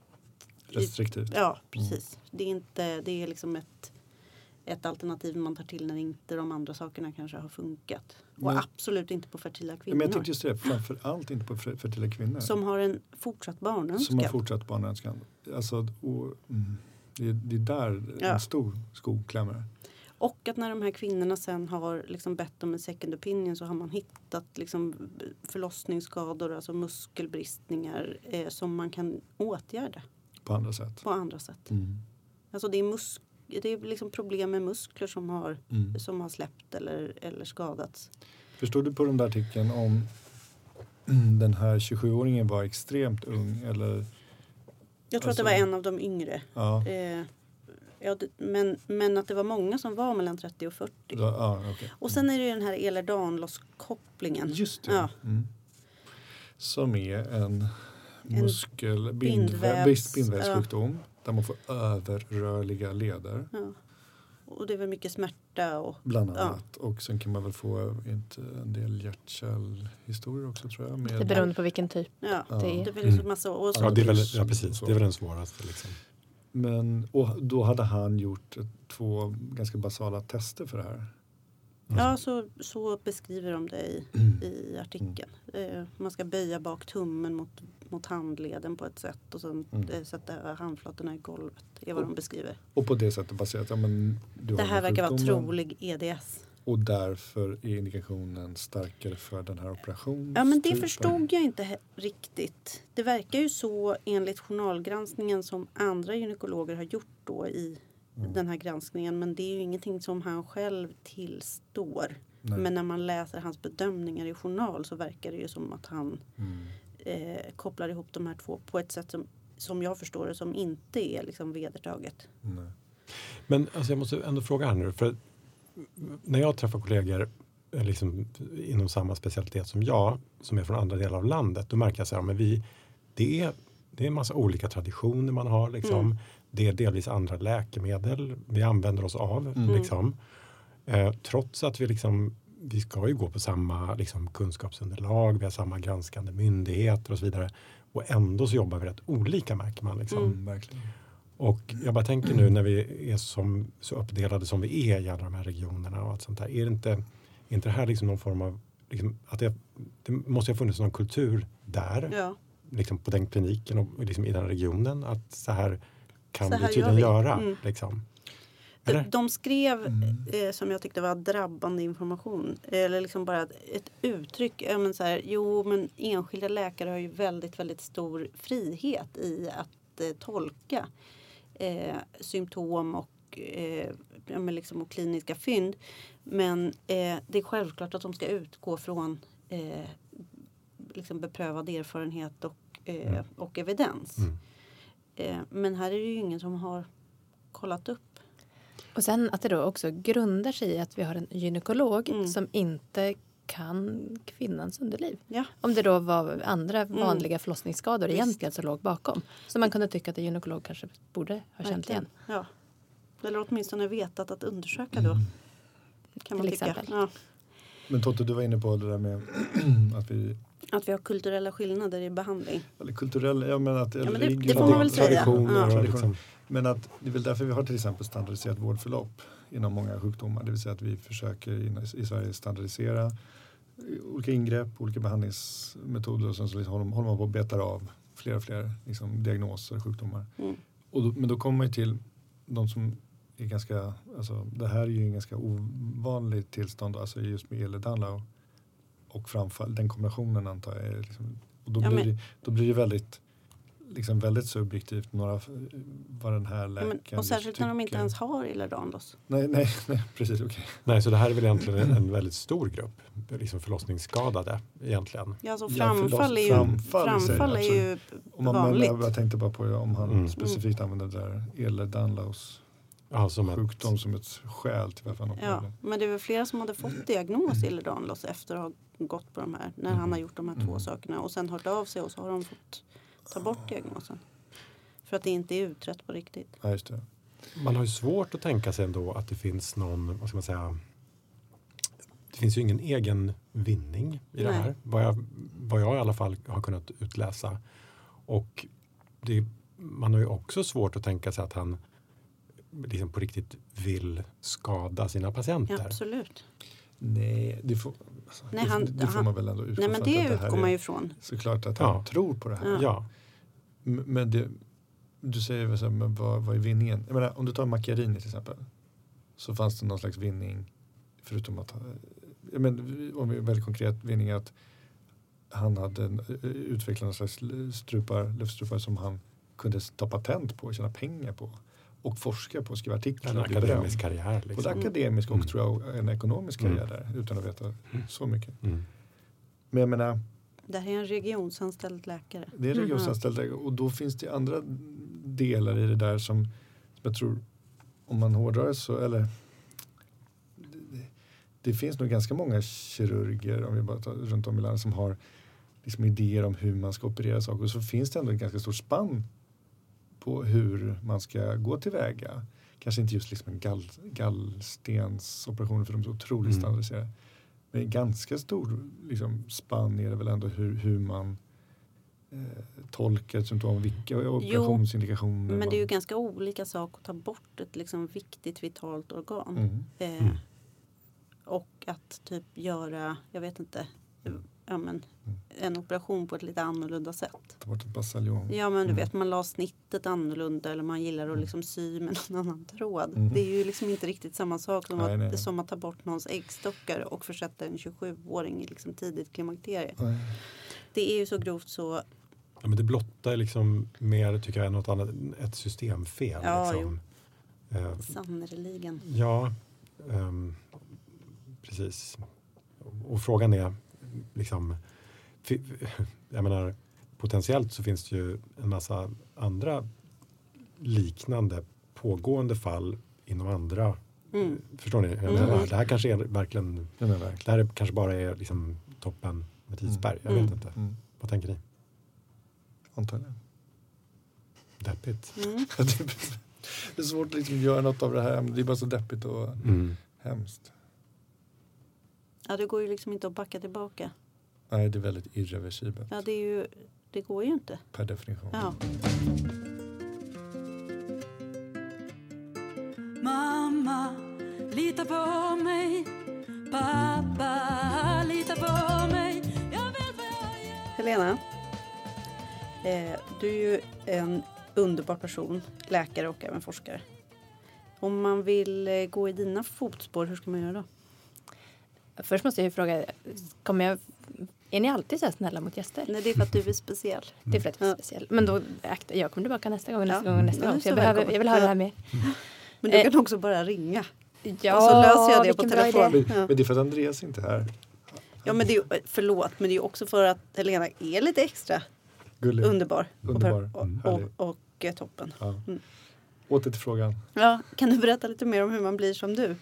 Speaker 1: Restriktivt.
Speaker 4: Ja, precis. Det är inte... Det är liksom ett, ett alternativ man tar till när inte de andra sakerna kanske har funkat. Och
Speaker 1: Men-
Speaker 4: absolut inte på fertila
Speaker 1: Ja, Men jag
Speaker 4: kvinnor.
Speaker 1: tänkte just det, framför allt inte på fer- fertila kvinnor.
Speaker 4: Som har en fortsatt
Speaker 1: som har
Speaker 4: barnönskan.
Speaker 1: fortsatt barnönskan. Alltså, och, mm, det, är- det är där
Speaker 4: Ja.
Speaker 1: en stor skog klämmer.
Speaker 4: Och att när de här kvinnorna sen har liksom bett om en second opinion så har man hittat liksom förlossningsskador, alltså muskelbristningar eh, som man kan åtgärda
Speaker 1: på andra sätt.
Speaker 4: på andra sätt.
Speaker 1: Mm.
Speaker 4: Alltså det är, mus- det är liksom problem med muskler som har,
Speaker 1: Mm.
Speaker 4: som har släppt eller, eller skadats.
Speaker 1: Förstod du på den där artikeln om mm, den här 27-åringen var extremt ung eller
Speaker 4: Jag
Speaker 1: Alltså-
Speaker 4: tror att det var en av de yngre.
Speaker 1: ja,
Speaker 4: Eh, ja, det, men, men att det var många som var mellan 30 och 40.
Speaker 1: då, ja okej. Mm.
Speaker 4: Och sen är det ju den här Ehlers-Danlos-kopplingen.
Speaker 1: Just det.
Speaker 4: Ja.
Speaker 1: Mm. Som är en muskel, bindvä-
Speaker 4: bindvävs-
Speaker 1: brist- bindvävssjukdom där man får överrörliga leder
Speaker 4: Ja. Och det är väl mycket smärta och
Speaker 1: bland
Speaker 4: Ja.
Speaker 1: annat. Och sen kan man väl få inte, en del hjärtkärlhistorier också tror jag. Med,
Speaker 2: Det beror på vilken typ
Speaker 4: ja.
Speaker 1: Ja.
Speaker 2: det
Speaker 4: Det
Speaker 2: är.
Speaker 4: är väl liksom massa, och
Speaker 3: Ja, det är väl, ja,
Speaker 1: Som-
Speaker 3: precis.
Speaker 1: så.
Speaker 3: Det är väl den svåraste. Liksom.
Speaker 1: Men, och då hade han gjort eh, två ganska basala tester för det här.
Speaker 4: Ja, så, så beskriver de det i, i artikeln. Eh, man ska böja bak tummen mot, mot handleden på ett sätt och sen
Speaker 1: Mm.
Speaker 4: eh, sätta handflatorna i golvet. Det är vad de beskriver.
Speaker 1: Och på det sättet baserat, ja men du
Speaker 4: Det
Speaker 1: har
Speaker 4: här
Speaker 1: den
Speaker 4: verkar vara
Speaker 1: sjukdomen
Speaker 4: trolig E EDS.
Speaker 1: Och därför är indikationen starkare för den här operationen. Typ.
Speaker 4: Ja, men det förstod jag inte he- riktigt. Det verkar ju så enligt journalgranskningen som andra gynekologer har gjort då i den här granskningen. Men det är ju ingenting som han själv tillstår.
Speaker 1: Nej.
Speaker 4: Men när man läser hans bedömningar i journal så verkar det ju som att han
Speaker 1: Mm.
Speaker 4: eh, kopplar ihop de här två på ett sätt som, som jag förstår det som inte är liksom vedertaget.
Speaker 1: Nej.
Speaker 3: Men alltså, jag måste ändå fråga här nu. För när jag träffar kollegor eh, liksom, inom samma specialitet som jag, som är från andra delar av landet, då märker jag så här, men vi, det, är, det är en massa olika traditioner man har. Liksom. Det är delvis andra läkemedel vi använder oss av. Liksom. Eh, trots att vi, liksom, vi ska ju gå på samma liksom, kunskapsunderlag, vi har samma granskande myndigheter och så vidare. Och ändå så jobbar vi rätt olika märker man. Liksom.
Speaker 1: Verkligen.
Speaker 3: Och jag bara tänker nu när vi är som, så uppdelade som vi är i alla de här regionerna och allt sånt där. Är det inte, är inte det här liksom någon form av, liksom, att det, det måste ju ha funnits någon kultur där,
Speaker 4: Ja,
Speaker 3: liksom på den kliniken och liksom i den regionen, att så här kan
Speaker 4: Så här
Speaker 3: vi
Speaker 4: gör
Speaker 3: tydligen
Speaker 4: vi.
Speaker 3: göra.
Speaker 4: Mm.
Speaker 3: Liksom.
Speaker 4: de,
Speaker 3: Eller?
Speaker 4: Typ, de skrev,
Speaker 1: Mm.
Speaker 4: eh, som jag tyckte var drabbande information, eller liksom bara ett- ett uttryck. Ja, men så här, jo, men enskilda läkare har ju väldigt, väldigt stor frihet i att eh, tolka eh, symptom och, eh, ja, men liksom, och kliniska fynd. Men eh, det är självklart att de ska utgå från eh, liksom beprövad erfarenhet och, eh,
Speaker 3: Mm.
Speaker 4: och evidens.
Speaker 3: Mm.
Speaker 4: Eh, men här är det ju ingen som har kollat upp.
Speaker 2: Och sen att det då också grundar sig i att vi har en gynekolog
Speaker 4: Mm.
Speaker 2: som inte kan kvinnans underliv.
Speaker 4: Ja.
Speaker 2: Om det då var andra
Speaker 4: Mm.
Speaker 2: vanliga förlossningsskador egentligen som låg bakom. Så man kunde tycka att en gynekolog kanske borde ha känt
Speaker 4: Verkligen.
Speaker 2: igen.
Speaker 4: Ja. Eller åtminstone vetat att undersöka då. Kan man
Speaker 2: Mm. Till
Speaker 4: tycka.
Speaker 2: exempel.
Speaker 4: Ja.
Speaker 1: Men Totte, du var inne på det där med att vi
Speaker 4: Att vi har kulturella skillnader i behandling.
Speaker 1: Eller kulturell, ja men att...
Speaker 4: men det-
Speaker 1: religion-
Speaker 4: det får man väl säga.
Speaker 3: Traditioner
Speaker 4: Ja.
Speaker 3: och liksom,
Speaker 1: Men att det är väl därför vi har till exempel standardiserat vårdförlopp inom många sjukdomar. Det vill säga att vi försöker in- i Sverige standardisera eh, olika ingrepp, olika behandlingsmetoder och sen så liksom håller håller man på och betar av fler och fler liksom, diagnoser och sjukdomar.
Speaker 4: Mm.
Speaker 1: Och då, men då kommer man ju till de som är ganska, alltså det här är ju en ganska ovanligt tillstånd, alltså just med Ehlers-Danlos och framfall, den kombinationen antar jag. Är liksom, och då,
Speaker 4: Ja,
Speaker 1: blir
Speaker 4: men-
Speaker 1: det, då blir det väldigt, liksom väldigt subjektivt några, f- vad den här
Speaker 4: Ja,
Speaker 1: läkaren
Speaker 4: men, och särskilt när de inte
Speaker 1: tycker.
Speaker 4: ens har Illerdanlos.
Speaker 1: Nej, nej, nej precis, okej.
Speaker 3: nej, så det här är väl egentligen en, en väldigt stor grupp liksom förlossningsskadade egentligen.
Speaker 4: Ja, alltså
Speaker 1: Ja,
Speaker 4: framfall är ju, Mm.
Speaker 1: framfall i sig, alltså.
Speaker 4: framfall är ju
Speaker 1: Om man, men
Speaker 4: vanligt.
Speaker 1: jag bara tänkte bara på om han
Speaker 3: Mm.
Speaker 1: specifikt använder det där Ehlers-Danlos
Speaker 3: Ja, Alltså som att-
Speaker 1: sjukdom som ett skäl till varför han
Speaker 4: Ja,
Speaker 1: opererade.
Speaker 4: men det är väl flera som hade fått diagnos Illerdanlos efter att ha gått på de här. När han har gjort de här två
Speaker 1: Mm. Ah.
Speaker 4: sakerna och sen hört av sig och så har de fått ta bort diagnosen. För att det inte är utrett på riktigt.
Speaker 1: Ja, just det.
Speaker 3: Man har ju svårt att tänka sig ändå att det finns någon, vad ska man säga, det finns ju ingen egen vinning i det
Speaker 4: Nej.
Speaker 3: här. Vad jag, vad jag i alla fall har kunnat utläsa. Och det, man har ju också svårt att tänka sig att han liksom på riktigt vill skada sina
Speaker 4: Ja,
Speaker 3: patienter.
Speaker 4: absolut.
Speaker 1: Nej, det får, alltså,
Speaker 4: Nej,
Speaker 1: det-
Speaker 4: han-
Speaker 1: det får
Speaker 4: han-
Speaker 1: man väl ändå utgå
Speaker 4: Nej, men
Speaker 1: från att
Speaker 4: det
Speaker 1: här
Speaker 4: utgår
Speaker 1: är-
Speaker 4: man ju ifrån.
Speaker 1: Såklart att han
Speaker 3: Ja.
Speaker 1: tror på det här.
Speaker 3: ja.
Speaker 1: M- Men det, du säger väl så här, men vad, vad är vinningen? Jag menar, om du tar Macchiarini till exempel. Så fanns det någon slags vinning. Förutom att, han- jag menar, om vi är väldigt konkret, vinning att han hade en, eh, utvecklat någon slags strupar, luftstrupar som han kunde ta patent på, tjäna pengar på. Och forska på, skriva
Speaker 3: En
Speaker 1: artiklar och bli berömd.
Speaker 3: akademisk karriär.
Speaker 1: Både
Speaker 3: Liksom.
Speaker 1: akademisk och
Speaker 3: Mm.
Speaker 1: tror jag en ekonomisk karriär
Speaker 3: Mm.
Speaker 1: där utan att veta
Speaker 3: Mm.
Speaker 1: så mycket.
Speaker 3: Mm.
Speaker 1: Men jag menar,
Speaker 4: Det här är en regionsanställd läkare.
Speaker 1: Det är
Speaker 2: Mhm.
Speaker 1: regionsanställda och då finns det andra delar i det där som som jag tror, om man hårdrar det så, eller det- det- det finns nog ganska många kirurger om vi bara tar, runt om i landet som har liksom idéer om hur man ska operera saker och så finns det ändå ett ganska stort spann på hur man ska gå tillväga. Kanske inte just liksom en gall, gallstensoperationer för de är så otroligt
Speaker 3: Mm.
Speaker 1: standardiserade. Men en ganska stor liksom, spann är det väl ändå hur, hur man eh, tolkar ett symptom, vilka operationsindikationer
Speaker 4: Men
Speaker 1: man...
Speaker 4: det är ju ganska olika sak att ta bort ett liksom viktigt vitalt organ.
Speaker 1: Mm.
Speaker 4: Eh,
Speaker 3: Mm.
Speaker 4: Och att typ göra, jag vet inte, ja, men, en operation på ett lite annorlunda sätt.
Speaker 1: Ta bort ett basaljong.
Speaker 4: Ja men du
Speaker 1: Mm.
Speaker 4: vet man la snittet annorlunda eller man gillar att liksom sy med någon annan tråd.
Speaker 1: Mm.
Speaker 4: Det är ju liksom inte riktigt samma sak som,
Speaker 1: Nej,
Speaker 4: att,
Speaker 1: nej, nej.
Speaker 4: som att ta bort någons äggstockar och försätta en 27-åring i liksom tidigt klimakterie.
Speaker 1: Nej.
Speaker 4: Det är ju så grovt så,
Speaker 3: Ja, men det blottar liksom mer, tycker jag, än något annat, ett systemfel.
Speaker 4: Ja,
Speaker 3: liksom. Eh,
Speaker 4: sannerligen.
Speaker 3: Ja, ehm, precis. Och frågan är, liksom, fi- jag menar, potentiellt så finns det ju en massa andra liknande pågående fall inom andra.
Speaker 4: Mm.
Speaker 3: Förstår ni? Jag
Speaker 4: Mm.
Speaker 3: menar, det här kanske är verkligen,
Speaker 1: Ja, men verkligen.
Speaker 3: det här är- kanske bara är liksom toppen med isberg. Jag
Speaker 4: Mm.
Speaker 3: vet inte.
Speaker 1: Mm.
Speaker 3: Vad tänker ni?
Speaker 1: Antagligen.
Speaker 3: Deppigt.
Speaker 4: Mm.
Speaker 1: det är svårt att liksom göra något av det här. men Det är bara så deppigt och
Speaker 3: Mm.
Speaker 1: hemskt.
Speaker 4: Ja det går ju liksom inte att backa tillbaka.
Speaker 1: Nej, det är väldigt irreversibelt
Speaker 4: Ja, det, är ju, det går ju inte.
Speaker 1: per definition.
Speaker 4: Ja.
Speaker 6: lita på mig. Pappa, lita på mig. Jag vet vad jag gör.
Speaker 4: Helena, eh, du är ju en underbar person, läkare och även forskare. Om man vill eh, gå i dina fotspår, hur ska man göra då?
Speaker 2: Först måste jag ju fråga, kommer jag, är ni alltid så här snälla mot gäster?
Speaker 4: Nej, det är för att du är speciell.
Speaker 2: Det är för att jag är
Speaker 4: Ja.
Speaker 2: speciell. Men då, akta, jag kommer tillbaka nästa gång, nästa
Speaker 4: Ja.
Speaker 2: gång, nästa
Speaker 4: Ja,
Speaker 2: gång. Så
Speaker 4: så
Speaker 2: jag, behöver,
Speaker 4: välkommen.
Speaker 2: jag vill ha det här
Speaker 4: Ja.
Speaker 2: med.
Speaker 4: Men du
Speaker 2: Eh.
Speaker 4: kan också bara ringa.
Speaker 2: Ja,
Speaker 4: och så löser jag det på
Speaker 2: vilken bra idé.
Speaker 4: telefon.
Speaker 1: Men,
Speaker 4: Ja.
Speaker 1: men det är för att Andreas inte är här.
Speaker 4: Ja, men det är, ju- eh, förlåt, men det är ju också för att Helena är lite extra
Speaker 1: Gullig.
Speaker 4: underbar.
Speaker 1: Underbar.
Speaker 4: Och,
Speaker 1: Mm,
Speaker 4: och,
Speaker 1: härlig.
Speaker 4: och, och eh, toppen.
Speaker 1: Ja.
Speaker 4: Mm.
Speaker 1: Åter till frågan.
Speaker 4: Ja, kan du berätta lite mer om hur man blir som du?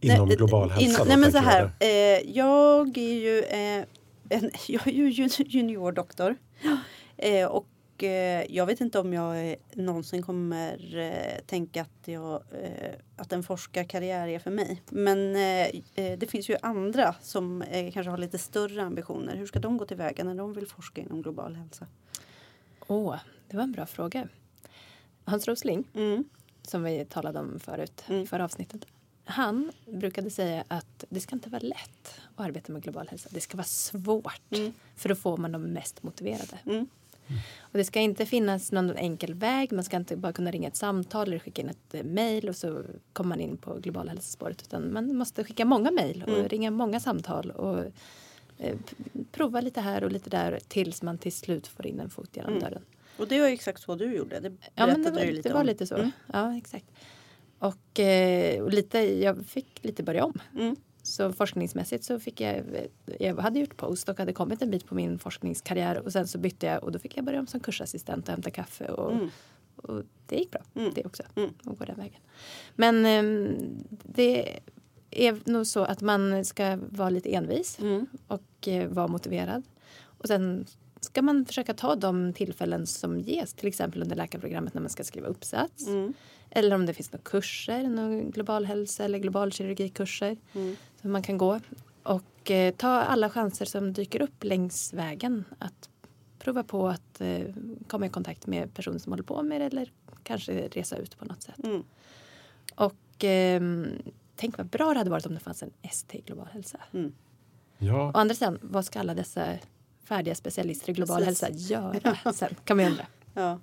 Speaker 3: Inom
Speaker 4: Nej,
Speaker 3: global
Speaker 4: eh,
Speaker 3: hälsa.
Speaker 4: inom-
Speaker 3: då,
Speaker 4: nej men så
Speaker 3: tänker jag
Speaker 4: här. Eh, jag är ju, eh, en, jag är ju jun- juniordoktor. Eh, och eh, jag vet inte om jag eh, någonsin kommer eh, tänka att, jag, eh, att en forskarkarriär är för mig. Men eh, eh, det finns ju andra som eh, kanske har lite större ambitioner. Hur ska de gå tillväga när de vill forska inom global hälsa?
Speaker 2: Åh, det var en bra fråga. Hans Rosling,
Speaker 4: Mm.
Speaker 2: som vi talade om förut,
Speaker 4: Mm.
Speaker 2: i förra avsnittet. Han brukade säga att det ska inte vara lätt att arbeta med global hälsa. Det ska vara svårt,
Speaker 4: Mm.
Speaker 2: för då får man de mest motiverade.
Speaker 4: Mm.
Speaker 2: Och det ska inte finnas någon enkel väg. Man ska inte bara kunna ringa ett samtal eller skicka in ett eh, mejl och så kommer man in på global hälsospåret. Utan man måste skicka många mejl och
Speaker 4: Mm.
Speaker 2: ringa många samtal och eh, p- prova lite här och lite där tills man till slut får in en fot genom
Speaker 4: Mm.
Speaker 2: dörren.
Speaker 4: Och det var ju exakt så du gjorde. Det
Speaker 2: Ja, men det
Speaker 4: berättade
Speaker 2: var,
Speaker 4: du lite
Speaker 2: det var
Speaker 4: om.
Speaker 2: lite så.
Speaker 4: Mm.
Speaker 2: Ja, exakt. Och, eh, och lite, jag fick lite börja om.
Speaker 4: Mm.
Speaker 2: Så forskningsmässigt så fick jag, eh, jag hade gjort postdoc, hade kommit en bit på min forskningskarriär och sen så bytte jag och då fick jag börja om som kursassistent och hämta kaffe och,
Speaker 4: Mm.
Speaker 2: och det gick bra
Speaker 4: Mm.
Speaker 2: det också.
Speaker 4: Mm.
Speaker 2: Och gå den vägen. Men ehm, det är nog så att man ska vara lite envis
Speaker 4: Mm.
Speaker 2: och eh, vara motiverad. Och sen ska man försöka ta de tillfällen som ges, till exempel under läkarprogrammet när man ska skriva uppsats.
Speaker 4: Mm.
Speaker 2: Eller om det finns några kurser, någon global hälsa eller global kirurgikurser
Speaker 4: Mm.
Speaker 2: som man kan gå. Och eh, ta alla chanser som dyker upp längs vägen att prova på att eh, komma i kontakt med personer som håller på med det eller kanske resa ut på något sätt.
Speaker 4: Mm.
Speaker 2: Och ehm, tänk vad bra det hade varit om det fanns en ST i Global hälsa.
Speaker 3: Ja,
Speaker 2: Å andra sidan, vad ska alla dessa färdiga specialister i global
Speaker 4: Precis.
Speaker 2: hälsa göra sen? Kan man ju undra.
Speaker 4: Ja.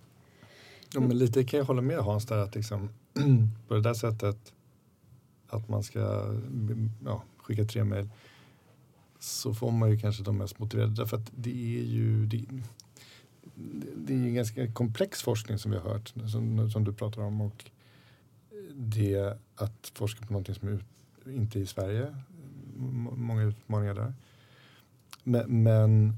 Speaker 1: Ja, men lite kan jag hålla med Hans där att liksom, på det där sättet att man ska ja, skicka tre mejl så får man ju kanske de mest motiverade. Därför att det är ju det, det är ju ganska komplex forskning som vi har hört som, som du pratar om och det att forska på någonting som är ut- inte är i Sverige. M- många utmaningar där. Men, men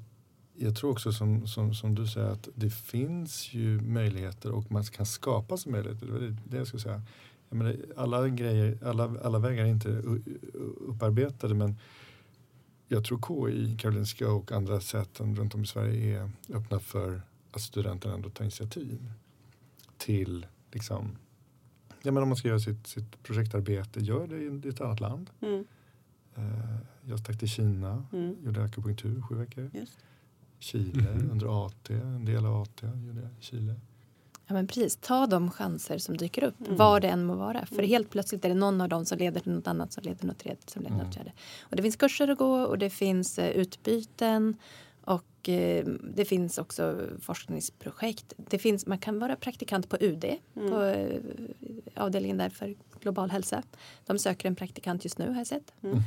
Speaker 1: jag tror också som, som, som du säger att det finns ju möjligheter och man kan skapa sig möjligheter. Det var det- det jag skulle säga. Jag menar, alla, grejer, alla, alla vägar är inte u- u- upparbetade men jag tror KI, Karolinska och andra säten runt om i Sverige är öppna för att studenterna ändå tar initiativ till liksom Ja, men om man ska göra sitt, sitt projektarbete, gör det i- i ett annat land.
Speaker 4: Mm.
Speaker 1: Eh, jag stack till Kina,
Speaker 4: Mm.
Speaker 1: gjorde akupunktur sju veckor.
Speaker 4: Just.
Speaker 1: Chile
Speaker 3: Mhm.
Speaker 1: under AT, en del av AT gjorde jag i Chile.
Speaker 2: Ja, men precis. Ta de chanser som dyker upp,
Speaker 4: Mm.
Speaker 2: var det än må vara. För
Speaker 4: Mm.
Speaker 2: helt plötsligt är det någon av dem som leder till något annat, som leder till något tredje, som leder till något
Speaker 1: Mm.
Speaker 2: fjärde. Och det finns kurser att gå och det finns eh, utbyten och eh, det finns också forskningsprojekt. Det finns, man kan vara praktikant på UD,
Speaker 4: Mm.
Speaker 2: på eh, avdelningen där för global hälsa. De söker en praktikant just nu har jag sett.
Speaker 4: Mm.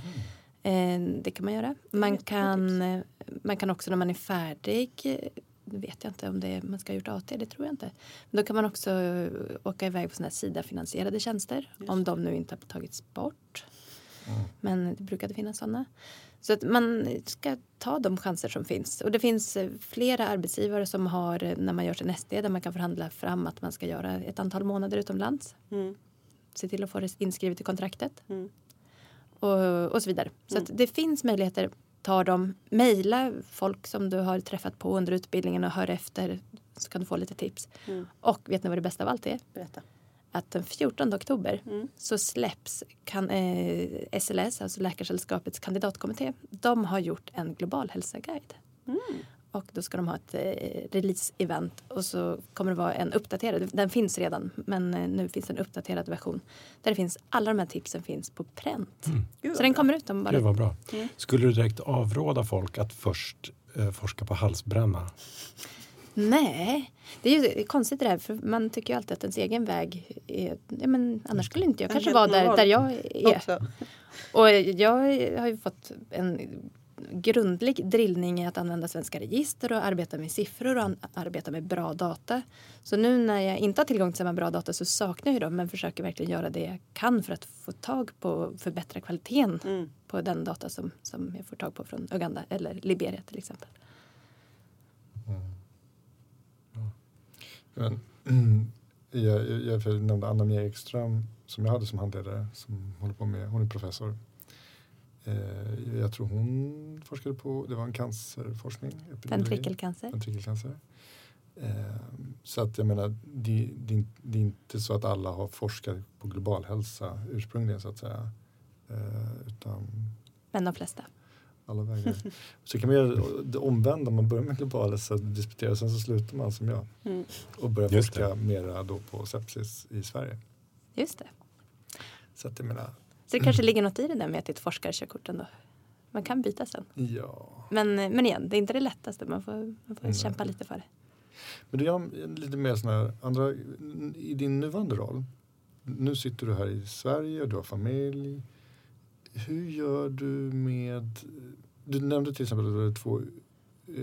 Speaker 2: Eh, Det kan man göra. Man
Speaker 4: jättebra
Speaker 2: kan, eh, man kan också när man är färdig, eh, nu vet jag inte om det är, man ska ha gjort AT, det tror jag inte. Men då kan man också eh, åka iväg på sådana här Sida-finansierade tjänster
Speaker 4: Just.
Speaker 2: om de nu inte har tagits bort. Men det brukade finnas sådana. Så att man ska ta de chanser som finns. Och det finns eh, flera arbetsgivare som har, eh, när man gör sin SD, där man kan förhandla fram att man ska göra ett antal månader utomlands.
Speaker 4: Mm.
Speaker 2: Se till att få det inskrivet i kontraktet
Speaker 4: Mm.
Speaker 2: och, och så vidare. Så att det finns möjligheter. Ta dem, mejla folk som du har träffat på under utbildningen och hör efter så kan du få lite tips.
Speaker 4: Mm.
Speaker 2: Och vet ni vad det bästa av allt är?
Speaker 4: Berätta.
Speaker 2: Att den 14 oktober
Speaker 4: Mm.
Speaker 2: så släpps kan, eh,
Speaker 4: Mm.
Speaker 2: SLS, alltså Läkarsällskapets kandidatkommitté. De har gjort en global hälsoguide. och då ska de ha ett eh, release-event och så kommer det vara en uppdaterad, den finns redan men eh, nu finns en uppdaterad version där det finns, alla de här tipsen finns på pränt. Så
Speaker 4: Gud, vad
Speaker 2: den
Speaker 4: bra.
Speaker 2: kommer ut om bara
Speaker 3: Gud vad bra.
Speaker 4: Mm.
Speaker 3: Skulle du direkt avråda folk att först eh, forska på halsbränna?
Speaker 2: Nej, det är ju konstigt det där för man tycker ju alltid att ens egen väg är, ja, men annars skulle inte jag
Speaker 4: Den
Speaker 2: kanske
Speaker 4: helt
Speaker 2: vara där,
Speaker 4: normal.
Speaker 2: där jag är.
Speaker 4: Också.
Speaker 2: Och jag har ju fått en grundlig drillning i att använda svenska register och arbeta med siffror och an- arbeta med bra data. Så nu när jag inte har tillgång till samma bra data så saknar jag ju dem men försöker verkligen göra det jag kan för att få tag på och förbättra kvaliteten
Speaker 4: Mm.
Speaker 2: på den data som, som jag får tag på från Uganda eller Liberia till exempel.
Speaker 1: Mm. Men, mm, jag, jag, jag jag nämnde Anna Mia Ekström som jag hade som handledare som håller på med, hon är professor. Eh, jag tror hon forskade på, det var en cancerforskning. epidemiologi,
Speaker 2: Ventrikelcancer.
Speaker 1: Mm. Ventrikelcancer. Eh, så att jag menar, det, det, det är inte så att alla har forskat på global hälsa ursprungligen så att säga. Eh, utan
Speaker 2: Men de flesta.
Speaker 1: alla vägar. så kan man göra det omvända, man börjar med global hälsa och disputerar sen så slutar man som jag
Speaker 4: Mm.
Speaker 1: och börja
Speaker 3: Just
Speaker 1: forska mera då på sepsis i Sverige.
Speaker 2: Just det.
Speaker 1: Så att jag menar,
Speaker 2: Så det kanske ligger något i det där med att det är ett forskarkörkort ändå. Man kan byta sen.
Speaker 1: ja.
Speaker 2: Men, men igen, det är inte det lättaste. Man får, man får
Speaker 1: Nej.
Speaker 2: kämpa lite för det.
Speaker 1: Men du har lite mer sådana här andra, i din nuvarande roll, nu sitter du här i Sverige och du har familj. Hur gör du med, du nämnde till exempel att du hade två eh,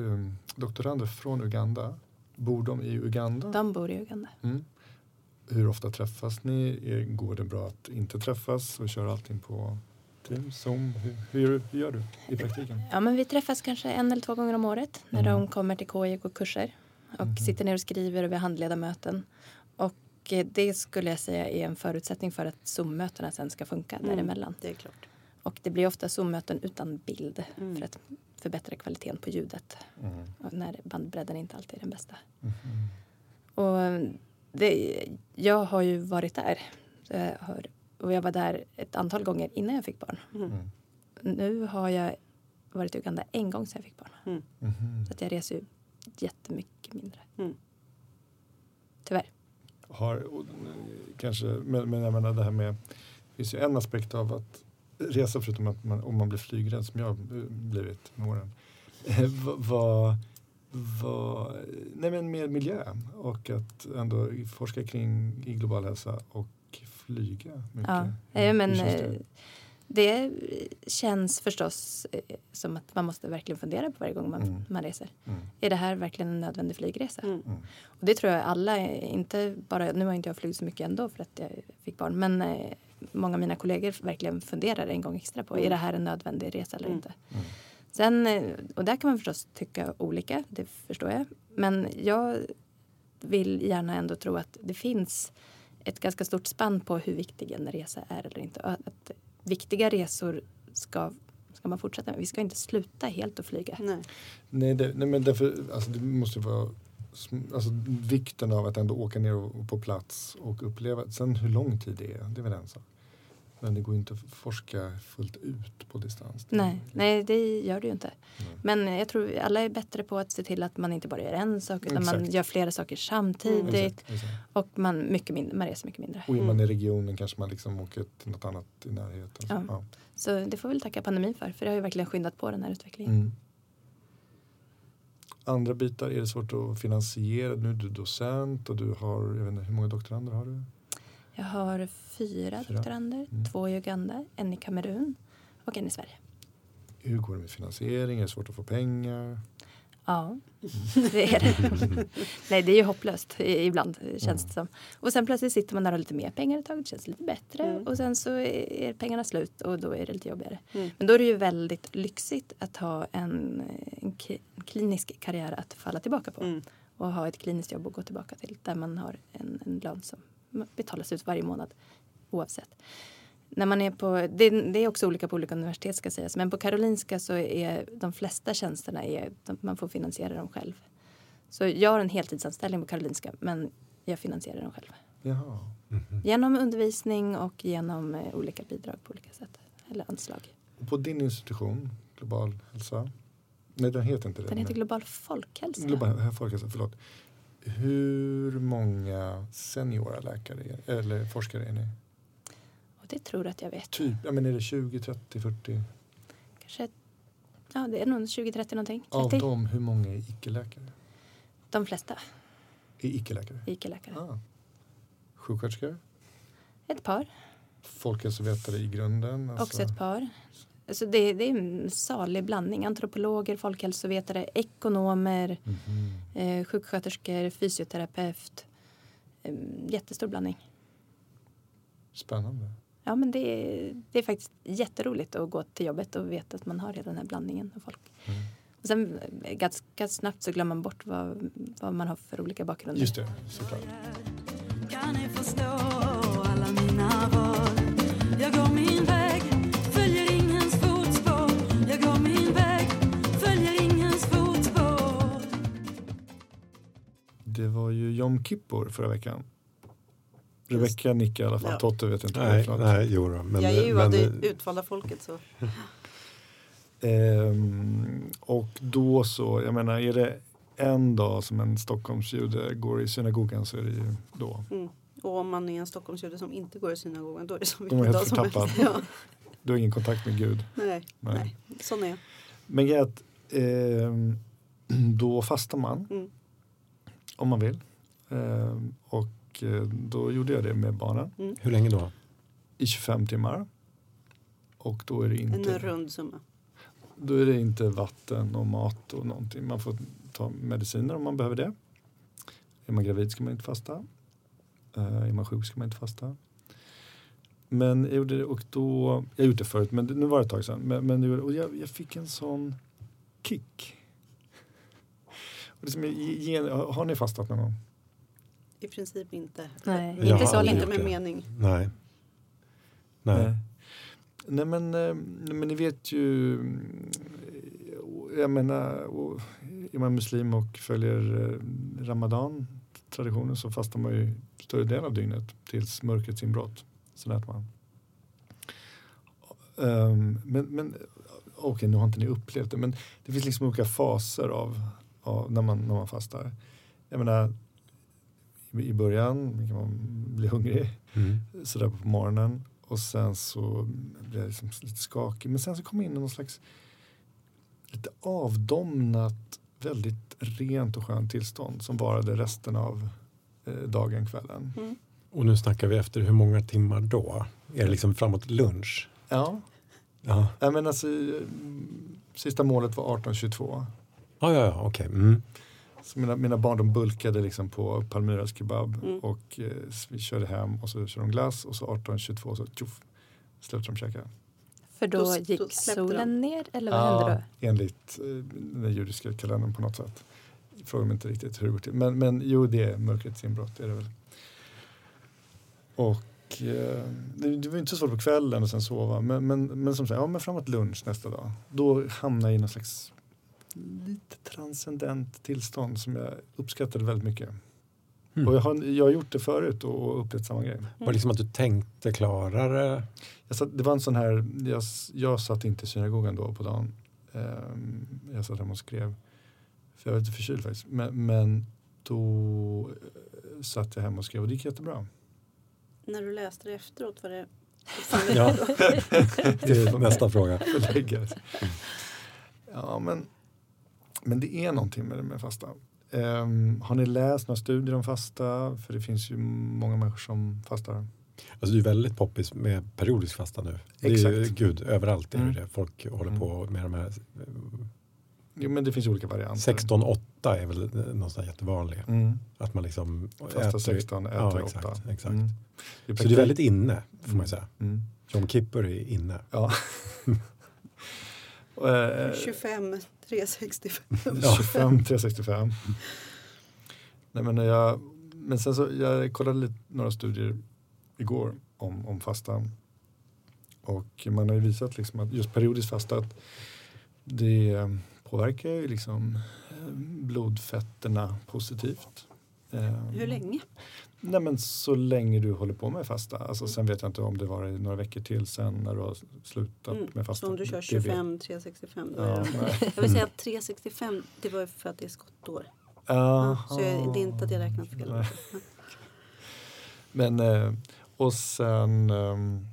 Speaker 1: eh, doktorander från Uganda. Bor de i Uganda?
Speaker 2: De bor i Uganda.
Speaker 1: Mm. Hur ofta träffas ni? Eh, Går det bra att inte träffas och köra allting på Teams, Zoom? Hur, hur, gör du- hur gör du i praktiken?
Speaker 2: Ja, men vi träffas kanske en eller två gånger om året när
Speaker 1: Mm.
Speaker 2: de kommer till KI och går kurser och
Speaker 1: Mhm.
Speaker 2: sitter ner och skriver och vi har handledarmöten. Och eh, det skulle jag säga är en förutsättning för att Zoom-mötena sen ska funka
Speaker 4: Mm.
Speaker 2: däremellan.
Speaker 4: Det är klart.
Speaker 2: Och det blir ofta Zoom-möten utan bild
Speaker 4: Mm.
Speaker 2: för att förbättra kvaliteten på ljudet
Speaker 1: Mm.
Speaker 2: och när bandbredden inte alltid är den bästa.
Speaker 1: Mm-hmm.
Speaker 2: Och det, jag har ju varit där eh, har- och jag var där ett antal gånger innan jag fick barn.
Speaker 1: Mm.
Speaker 2: Nu har jag varit i Uganda en gång sedan jag fick barn.
Speaker 1: Mhm.
Speaker 2: Så att jag reser ju jättemycket mindre.
Speaker 4: Mm.
Speaker 2: Tyvärr.
Speaker 1: Har, och, eh, kanske, men, men jag menar det här med, det finns ju en aspekt av att resa förutom att man, om man blir flygrädd som jag eh, blivit med åren. Eh, va- va- va- nej men med miljön och att ändå forska kring i global hälsa och flyga mycket.
Speaker 2: Ja. Eh, Men
Speaker 1: Hur känns
Speaker 2: eh,
Speaker 1: det?
Speaker 2: det känns förstås eh, som att man måste verkligen fundera på varje gång man,
Speaker 1: Mm.
Speaker 2: man reser.
Speaker 1: Mm.
Speaker 2: Är det här verkligen en nödvändig flygresa?
Speaker 4: Mm.
Speaker 1: Mm.
Speaker 2: Och det tror jag alla, eh, inte bara, nu har inte jag flugit så mycket ändå för att jag fick barn, men eh, många av mina kollegor verkligen funderar en gång extra på,
Speaker 4: Mm.
Speaker 2: är det här en nödvändig resa eller
Speaker 4: Mm.
Speaker 2: inte?
Speaker 1: Mm.
Speaker 2: Sen, eh, och där kan man förstås tycka olika, det förstår jag. Men jag vill gärna ändå tro att det finns ett ganska stort spann på hur viktig en resa är eller inte. Och Att viktiga resor ska, ska man fortsätta med. Vi ska inte sluta helt att flyga.
Speaker 4: Nej.
Speaker 1: Nej, det, nej men därför, alltså det måste ju vara sm- alltså, vikten av att ändå åka ner och, och på plats och uppleva. Sen hur lång tid det är, det är väl en sak. Men det går ju inte att forska fullt ut på distans. Det- liksom-
Speaker 2: Nej, nej, det gör det ju inte.
Speaker 1: Nej.
Speaker 2: Men jag tror alla är bättre på att se till att man inte bara gör en sak utan man
Speaker 1: Exakt. Mm.
Speaker 2: gör flera saker samtidigt.
Speaker 1: Exakt, exakt.
Speaker 2: Och man, mycket mindre, man reser mycket mindre.
Speaker 1: Och är man i regionen kanske man liksom åker till något annat i närheten.
Speaker 2: Mm. Ja.
Speaker 1: Ja.
Speaker 2: Så det får vi väl tacka pandemin för, för det har ju verkligen skyndat på den här utvecklingen.
Speaker 1: Mm. Andra bitar, är det svårt att finansiera? Nu är du docent och du har, jag vet inte, hur många doktorander har du?
Speaker 2: Jag har fyra,
Speaker 1: Fyra.
Speaker 2: doktorander,
Speaker 1: Mm.
Speaker 2: två i Uganda, en i Kamerun och en i Sverige.
Speaker 1: Hur går det med finansiering? Är det svårt att få pengar?
Speaker 2: Ja, det är det. Nej, det är ju hopplöst i- ibland känns det
Speaker 4: Mm.
Speaker 2: som. Och sen plötsligt sitter man där och har lite mer pengar ett tag, det känns lite bättre
Speaker 4: Mm.
Speaker 2: och sen så är pengarna slut och då är det lite jobbigare.
Speaker 4: Mm.
Speaker 2: Men då är det ju väldigt lyxigt att ha en, en ki- en klinisk karriär att falla tillbaka på
Speaker 4: Mm.
Speaker 2: och ha ett kliniskt jobb att gå tillbaka till där man har en, en lön som betalas ut varje månad oavsett. När man är på, det, det är också olika på olika universitet ska sägas men på Karolinska så är de flesta tjänsterna är, de, man får finansiera dem själv. Så jag har en heltidsanställning på Karolinska men jag finansierar dem själv.
Speaker 1: Jaha.
Speaker 3: Mhm.
Speaker 2: Genom undervisning och genom eh, olika bidrag på olika sätt eller anslag.
Speaker 1: Och på din institution, Global hälsa, Nej, den heter inte det.
Speaker 2: Den heter
Speaker 1: men-
Speaker 2: Global folkhälsa.
Speaker 1: Global här, folkhälsa. Förlåt. Hur många seniora läkare är- eller forskare är ni?
Speaker 2: Och det tror jag att jag vet.
Speaker 1: Typ, ja, men är det 20, 30, 40?
Speaker 2: Kanske, ja, det är nog 20-30 någonting.
Speaker 1: Av
Speaker 2: 30.
Speaker 1: dem, hur många är icke-läkare?
Speaker 2: De flesta
Speaker 1: Är icke-läkare?
Speaker 2: IQ-läkare.
Speaker 1: Ah. Sjuksköterskor?
Speaker 2: Ett par,
Speaker 1: Folkhälsovetare i grunden?
Speaker 4: Alltså-
Speaker 2: också ett par. Alltså det, det är en salig blandning. Antropologer, folkhälsovetare, ekonomer,
Speaker 1: Mhm.
Speaker 2: eh, sjuksköterskor, fysioterapeut. Eh, jättestor blandning.
Speaker 1: Spännande.
Speaker 2: Ja, men det, är- det är faktiskt jätteroligt att gå till jobbet och veta att man har hela den här blandningen av folk.
Speaker 1: Mm.
Speaker 2: Och sen eh, ganska snabbt så glömmer man bort vad, vad man har för olika bakgrunder.
Speaker 1: Just det, såklart.
Speaker 6: Kan ni förstå alla mina val? Jag går min väg, följer ingens fotspår. Jag går min väg, följer ingens fotspår.
Speaker 1: Det var ju Jom Kippur förra veckan. Rebecka nickar i alla fall.
Speaker 4: Ja.
Speaker 1: Totte vet inte. vad det är
Speaker 3: Nej,
Speaker 1: för något.
Speaker 3: nej, jo då, men,
Speaker 4: jag är ju
Speaker 3: men,
Speaker 4: av det utvalda folket så
Speaker 1: Ehm, och då så, jag menar är det en dag som en Stockholmsjude går i synagogan så är det ju då.
Speaker 4: Mm. Och om man är en Stockholmsjude som inte går i synagogan då är det som
Speaker 1: Då är man
Speaker 4: vilken
Speaker 1: helt
Speaker 4: dag som
Speaker 1: förtappad.
Speaker 4: helst. Ja,
Speaker 1: Du har ingen kontakt med Gud.
Speaker 4: nej,
Speaker 1: Nej.
Speaker 4: nej. Sån är jag.
Speaker 1: Men grejen är att ehm, då fastar man
Speaker 4: Mm.
Speaker 1: om man vill. Ehm, och eh, då gjorde jag det med barnen
Speaker 4: mm.
Speaker 3: hur länge då?
Speaker 1: i 25 timmar. Och då är det
Speaker 4: En
Speaker 1: inte...
Speaker 4: rund summa.
Speaker 1: Då är det inte vatten och mat och någonting. Man får ta mediciner om man behöver det. Är man gravid ska man inte fasta. Eh, är man sjuk ska man inte fasta. Men jag gjorde det och då, jag har gjort det förut men det- nu var det ett tag sedan. Men, men jag gjorde- och jag, jag fick en sån kick. Och liksom, ge, ge, har ni fastat någon gång?
Speaker 4: I princip inte.
Speaker 2: Nej,
Speaker 3: Jag
Speaker 2: inte
Speaker 3: har
Speaker 2: så
Speaker 3: aldrig
Speaker 2: länge.
Speaker 4: Inte
Speaker 3: gjort det.
Speaker 4: med mening.
Speaker 3: Nej. Nej.
Speaker 1: Nej men, eh, men ni vet ju, mm, jag menar, och är man muslim och följer eh, ramadan traditionen så fastar man ju större delen av dygnet tills mörkrets inbrott. Sen äter man. Ehm, Men, men okej, nu har inte ni upplevt det, men det finns liksom olika faser av, av när, man, när man fastar. Jag menar, i- i början kan man bli hungrig
Speaker 3: Mm.
Speaker 1: sådär på morgonen och sen så blev jag liksom lite skakig. Men sen så kom jag in i någon slags lite avdomnat, väldigt rent och skönt tillstånd som varade resten av eh, dagen, kvällen.
Speaker 4: Mm.
Speaker 3: Och nu snackar vi efter hur många timmar då? Är det liksom framåt lunch?
Speaker 1: Ja,
Speaker 3: Ja,
Speaker 1: nej, men alltså mm, sista målet var 18.22.
Speaker 3: ja, ja, ja okej. Mm.
Speaker 1: Så mina, mina barn de bulkade liksom på Palmyras kebab
Speaker 4: Mm.
Speaker 1: och eh, så vi körde hem och så körde de glass och så 18.22 så tjoff, släppte de käka.
Speaker 2: För då,
Speaker 4: Då s-
Speaker 2: gick
Speaker 4: då släppte de.
Speaker 2: solen ner eller vad hände då?
Speaker 1: Enligt eh, den judiska kalendern på något sätt. Frågar mig inte riktigt hur det går till. Men, men jo, det är mörkrets inbrott är det väl. Och eh, det, det var ju inte så svårt på kvällen och sen sova. Men, men, men som sagt, ja men framåt lunch nästa dag. Då hamnar jag i någon slags lite transcendent tillstånd som jag uppskattade väldigt mycket.
Speaker 3: Mm.
Speaker 1: Och jag har, jag har gjort det förut och, och upplevt samma grej.
Speaker 3: Var det
Speaker 4: mm.
Speaker 3: liksom att du tänkte klarare?
Speaker 1: Jag satt, det var en sån här, jag, s- jag satt inte i synagogan då på dagen. Ehm, jag satt hemma och skrev. För jag var lite förkyld faktiskt. Men, men då eh, satt jag hemma och skrev och det gick jättebra.
Speaker 4: När du läste det efteråt var det
Speaker 3: Ja, det är nästa fråga.
Speaker 1: Läggas. Ja, men, men det är någonting med det med fasta. Ehm, har ni läst några studier om fasta? För det finns ju många människor som fastar.
Speaker 3: Alltså det är väldigt poppis med periodisk fasta nu. Det är ju,
Speaker 1: Exakt.
Speaker 3: gud, överallt är det
Speaker 1: Mm.
Speaker 3: det. Folk håller
Speaker 1: Mm.
Speaker 3: på med de här. eh,
Speaker 1: Jo, men det finns olika varianter.
Speaker 3: 16-8 är väl eh, någon sån här jättevanlig.
Speaker 1: Mm.
Speaker 3: Att man liksom
Speaker 1: Fasta 16, äter
Speaker 3: ja,
Speaker 1: 8.
Speaker 3: exakt, exakt.
Speaker 1: Mm.
Speaker 3: Så det är väldigt inne, får man ju säga.
Speaker 1: Mm.
Speaker 3: Jom Kippur är inne.
Speaker 1: Ja. Och, eh,
Speaker 4: 25, 365.
Speaker 1: 25, 365. Nej, men, när jag, men sen så, jag kollade lite, några studier igår om, om fastan. Och man har ju visat liksom att just periodiskt fasta att det påverkar ju liksom eh, blodfetterna positivt. Eh,
Speaker 4: Hur länge?
Speaker 1: Nej men så länge du håller på med fasta. Alltså,
Speaker 4: Mm.
Speaker 1: Sen vet jag inte om det var i några veckor till sen när du har slutat
Speaker 4: Mm.
Speaker 1: med fasta.
Speaker 4: Så om du kör eh,
Speaker 1: Det vet-
Speaker 4: 25, 365 då är
Speaker 1: Ja,
Speaker 4: det.
Speaker 1: nej.
Speaker 4: Jag vill säga att 365 det var ju för att det är skottår. Ja, så jag, det är inte att jag räknat fel.
Speaker 1: Nej. Men eh, och sen ehm,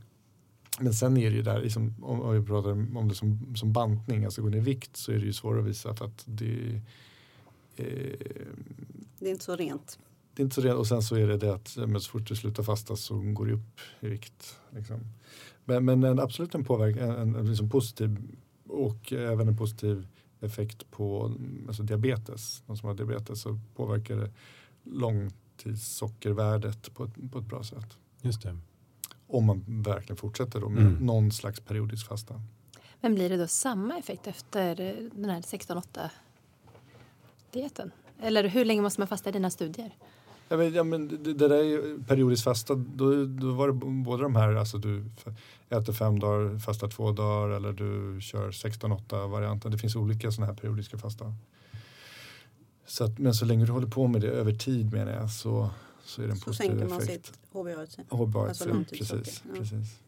Speaker 1: men sen är det ju där, liksom, om om vi pratar om det som, som bantning, alltså går ner i vikt så är det ju svårare att visa för att det, eh,
Speaker 4: Det är inte så rent.
Speaker 1: det är inte så redan. Och sen så är det det att eh, men så fort du slutar fasta så går det upp i vikt. Liksom. Men, men en, absolut en, påverkan, en, en liksom positiv och även en positiv effekt på mm, alltså diabetes. De som har diabetes så påverkar det långtidssockervärdet på ett, på ett bra sätt.
Speaker 3: Just det.
Speaker 1: Om man verkligen fortsätter då med
Speaker 3: Mm.
Speaker 1: någon slags periodisk fasta.
Speaker 2: Men blir det då samma effekt efter eh, den här 16-8 dieten? Eller hur länge måste man fasta i dina studier?
Speaker 1: Ja, men, ja, men det, det där är ju periodiskt fasta, då, då var det b- både de här, alltså du f- äter fem dagar, fastar två dagar eller du kör 16-8 varianten. Det finns olika sådana här periodiska fasta. Så att, men så länge du håller på med det över tid menar jag så, så är det en
Speaker 4: Så
Speaker 1: positiv
Speaker 4: sänker man
Speaker 1: effekt.
Speaker 4: sitt HbA1c.
Speaker 1: Hållbarhet,
Speaker 4: alltså
Speaker 1: ja, precis,
Speaker 4: långtidssocker, ja.
Speaker 1: precis.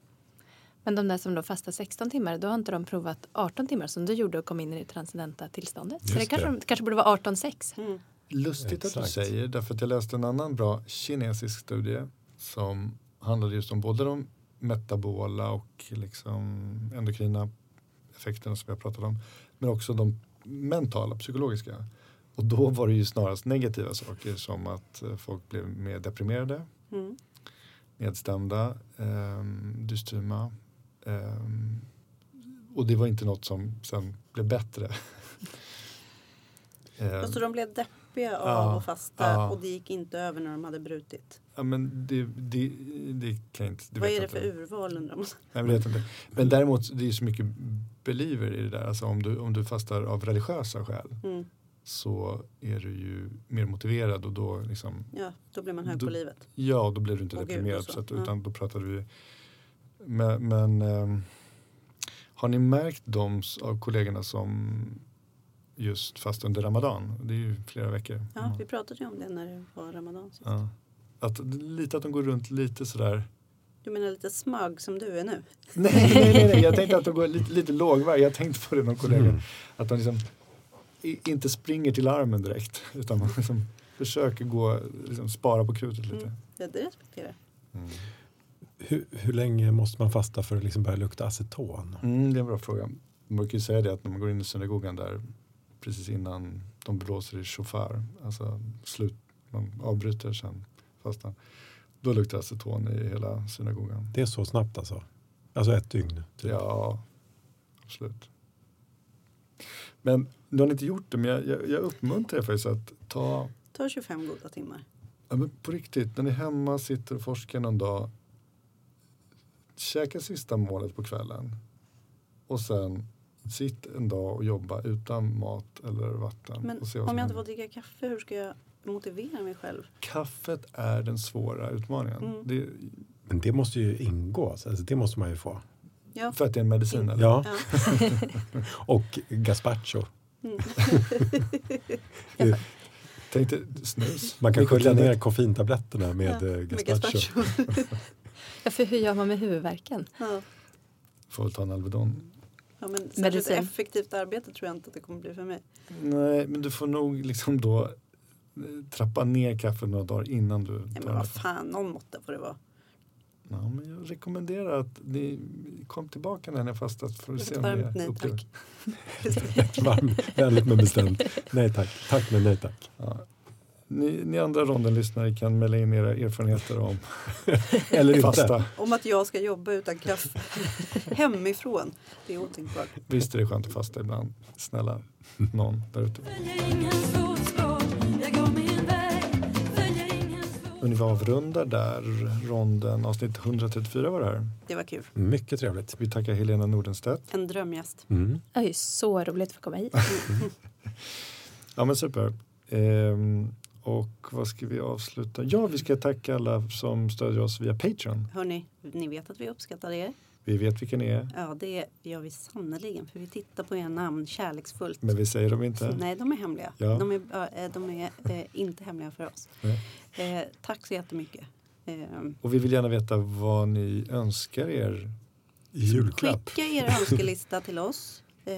Speaker 2: Men de där som då fastar 16 timmar, då har inte de provat 18 timmar som du gjorde och kom in i det transcendenta tillståndet. Så
Speaker 3: Just
Speaker 2: det kanske,
Speaker 3: det.
Speaker 2: det kanske borde vara 18-6.
Speaker 4: Mm.
Speaker 1: Lustigt att du
Speaker 3: Exakt.
Speaker 1: säger, därför att jag läste en annan bra kinesisk studie som handlade just om både de metabola och liksom endokrina effekterna som jag pratade om, men också de mentala, psykologiska. Och då var det ju snarast negativa saker som att eh, folk blev mer deprimerade,
Speaker 4: Mm.
Speaker 1: nedstämda, eh, dystyma. ehm, och det var inte något som sen blev bättre. Ehm.
Speaker 4: Fast så de blev deppiga av
Speaker 1: Ja,
Speaker 4: att fasta
Speaker 1: ja.
Speaker 4: och det gick inte över när de hade brutit.
Speaker 1: Ja, men det, det, det kan jag inte. Det
Speaker 4: Vad
Speaker 1: vet
Speaker 4: är det
Speaker 1: jag
Speaker 4: för
Speaker 1: inte.
Speaker 4: urval undrar man?
Speaker 1: Nej, men, det vet jag inte. men däremot, det är ju så mycket believer i det där. Alltså, om, du, om du fastar av religiösa skäl
Speaker 4: Mm.
Speaker 1: så är du ju mer motiverad och då, liksom,
Speaker 4: Ja, då blir man hög
Speaker 1: Då-
Speaker 4: på livet.
Speaker 1: ja, då blir du inte
Speaker 4: Och Gud och
Speaker 1: deprimerad.
Speaker 4: så.
Speaker 1: Så att,
Speaker 4: Mm.
Speaker 1: utan då pratar du... Men, men ehm, har ni märkt de s- av kollegorna som just fastar under ramadan? Det är ju flera veckor. Mm.
Speaker 4: Ja, vi pratade ju om det när det var ramadan sist.
Speaker 1: Ja. Att, lite att de går runt lite sådär
Speaker 4: Du menar lite smug som du är nu?
Speaker 1: Nej, nej, nej, nej, jag tänkte att de går lite, lite lågvarv. Jag tänkte på det någon kollega.
Speaker 3: Mm.
Speaker 1: Att de liksom i- inte springer till armen direkt utan man liksom försöker gå, liksom spara på krutet lite.
Speaker 4: Mm. Ja, det respekterar jag.
Speaker 3: Hur, hur länge måste man fasta för att liksom börja lukta aceton?
Speaker 1: Mm, det är en bra fråga. Man kan ju säga det att när man går in i synagogan där precis innan de blåser i shofar, alltså slut, man avbryter sen fastan, då luktar aceton i hela synagogan.
Speaker 3: Det är så snabbt alltså? Alltså ett dygn? Typ.
Speaker 1: Ja, absolut. Men nu har ni inte gjort det, men jag, jag, jag uppmuntrar er faktiskt att ta,
Speaker 4: Ta 25 goda timmar.
Speaker 1: ja, men på riktigt, när ni är hemma, sitter och forskar någon dag, käka sista målet på kvällen och sen sitt en dag och jobba utan mat eller vatten.
Speaker 4: Men
Speaker 1: och se vad
Speaker 4: om
Speaker 1: som
Speaker 4: jag inte får
Speaker 1: händer.
Speaker 4: dricka kaffe, hur ska jag motivera mig själv?
Speaker 1: Kaffet är den svåra utmaningen.
Speaker 4: Mm.
Speaker 1: Det,
Speaker 3: Men det måste ju ingå, alltså det måste man ju få.
Speaker 4: Ja.
Speaker 1: för att det är en medicin, eller?
Speaker 3: Ja,
Speaker 4: Ja.
Speaker 3: och gazpacho.
Speaker 4: Mm.
Speaker 1: Tänk dig snus.
Speaker 3: Man kan skölja
Speaker 1: Nikotinet.
Speaker 3: ner koffeintabletterna med eh, gazpacho.
Speaker 2: Ja, för hur gör man med huvudvärken?
Speaker 4: ja.
Speaker 1: Får väl ta en Alvedon.
Speaker 4: Ja, men särskilt
Speaker 2: Medicin.
Speaker 4: effektivt arbete tror jag inte att det kommer bli för mig.
Speaker 1: Nej, men du får nog liksom då eh, trappa ner kaffet några dagar innan du
Speaker 4: Nej,
Speaker 1: tar
Speaker 4: men vad
Speaker 1: det.
Speaker 4: fan, någon måtta får det vara.
Speaker 1: Ja, men jag rekommenderar att ni kom tillbaka när ni har fastat för att se
Speaker 4: Ett
Speaker 1: om ni
Speaker 4: varmt
Speaker 1: är
Speaker 4: nej
Speaker 1: upplever-
Speaker 4: tack.
Speaker 3: Varmt, vänligt men bestämt. Nej tack, tack men nej tack.
Speaker 1: Ni, ni andra rondenlyssnare kan mejla in era erfarenheter om
Speaker 3: Eller inte.
Speaker 1: fasta.
Speaker 4: Om att jag ska jobba utan kaffe hemifrån. Det är otänkbart.
Speaker 1: Visst är det skönt att fasta ibland. Snälla, någon där ute.
Speaker 6: Följer ingens fotspår, jag går min väg. Följer ingens
Speaker 1: Men
Speaker 6: fotspår.
Speaker 1: vi avrundar där ronden avsnitt 134 var det här.
Speaker 4: Det var kul.
Speaker 3: Mycket trevligt.
Speaker 1: Vi tackar Helena Nordenstedt.
Speaker 4: En drömgäst.
Speaker 3: Mm.
Speaker 2: Det är ju så roligt att få komma hit.
Speaker 1: Ja men super. Ehm, och vad ska vi avsluta? Ja, vi ska tacka alla som stödjer oss via Patreon.
Speaker 4: Hörni, ni vet att vi uppskattar er.
Speaker 1: Vi vet vilken ni är,
Speaker 4: Ja, det gör vi sannerligen. För vi tittar på era namn kärleksfullt.
Speaker 1: men vi säger dem inte.
Speaker 4: Nej, de är hemliga.
Speaker 1: Ja.
Speaker 4: De är, ja, eh, de är eh, inte hemliga för oss.
Speaker 1: Nej.
Speaker 4: Eh, tack så jättemycket. Eh,
Speaker 1: Och vi vill gärna veta vad ni önskar er.
Speaker 3: I julklapp.
Speaker 4: skicka er önskelista till oss. Eh,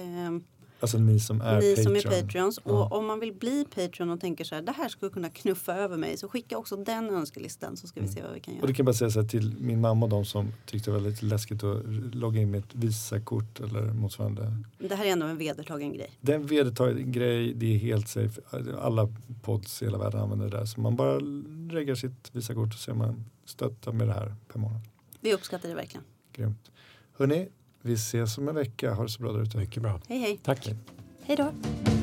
Speaker 1: Alltså ni som är
Speaker 4: ni som
Speaker 1: Patreon.
Speaker 4: är Patreons.
Speaker 1: Ja.
Speaker 4: Och om man vill bli Patreon och tänker så här, det här skulle kunna knuffa över mig. Så skicka också den önskelistan så ska vi se vad vi kan
Speaker 1: Mm. Och det
Speaker 4: göra.
Speaker 1: kan jag bara säga så här till min mamma och de som tyckte det var lite läskigt att logga in med ett Visakort eller motsvarande.
Speaker 4: Det här är ändå en vedertagen grej.
Speaker 1: Det är en vedertagen grej, det är helt safe. Alla pods i hela världen använder det där. Så man bara reggar sitt Visakort och ser om man stöttar med det här per månad.
Speaker 4: Vi uppskattar det verkligen.
Speaker 1: Grymt. Hörni, vi ses om en vecka. Ha det så bra där ute.
Speaker 3: Mycket bra.
Speaker 4: Hej hej!
Speaker 3: Tack.
Speaker 2: Hej då!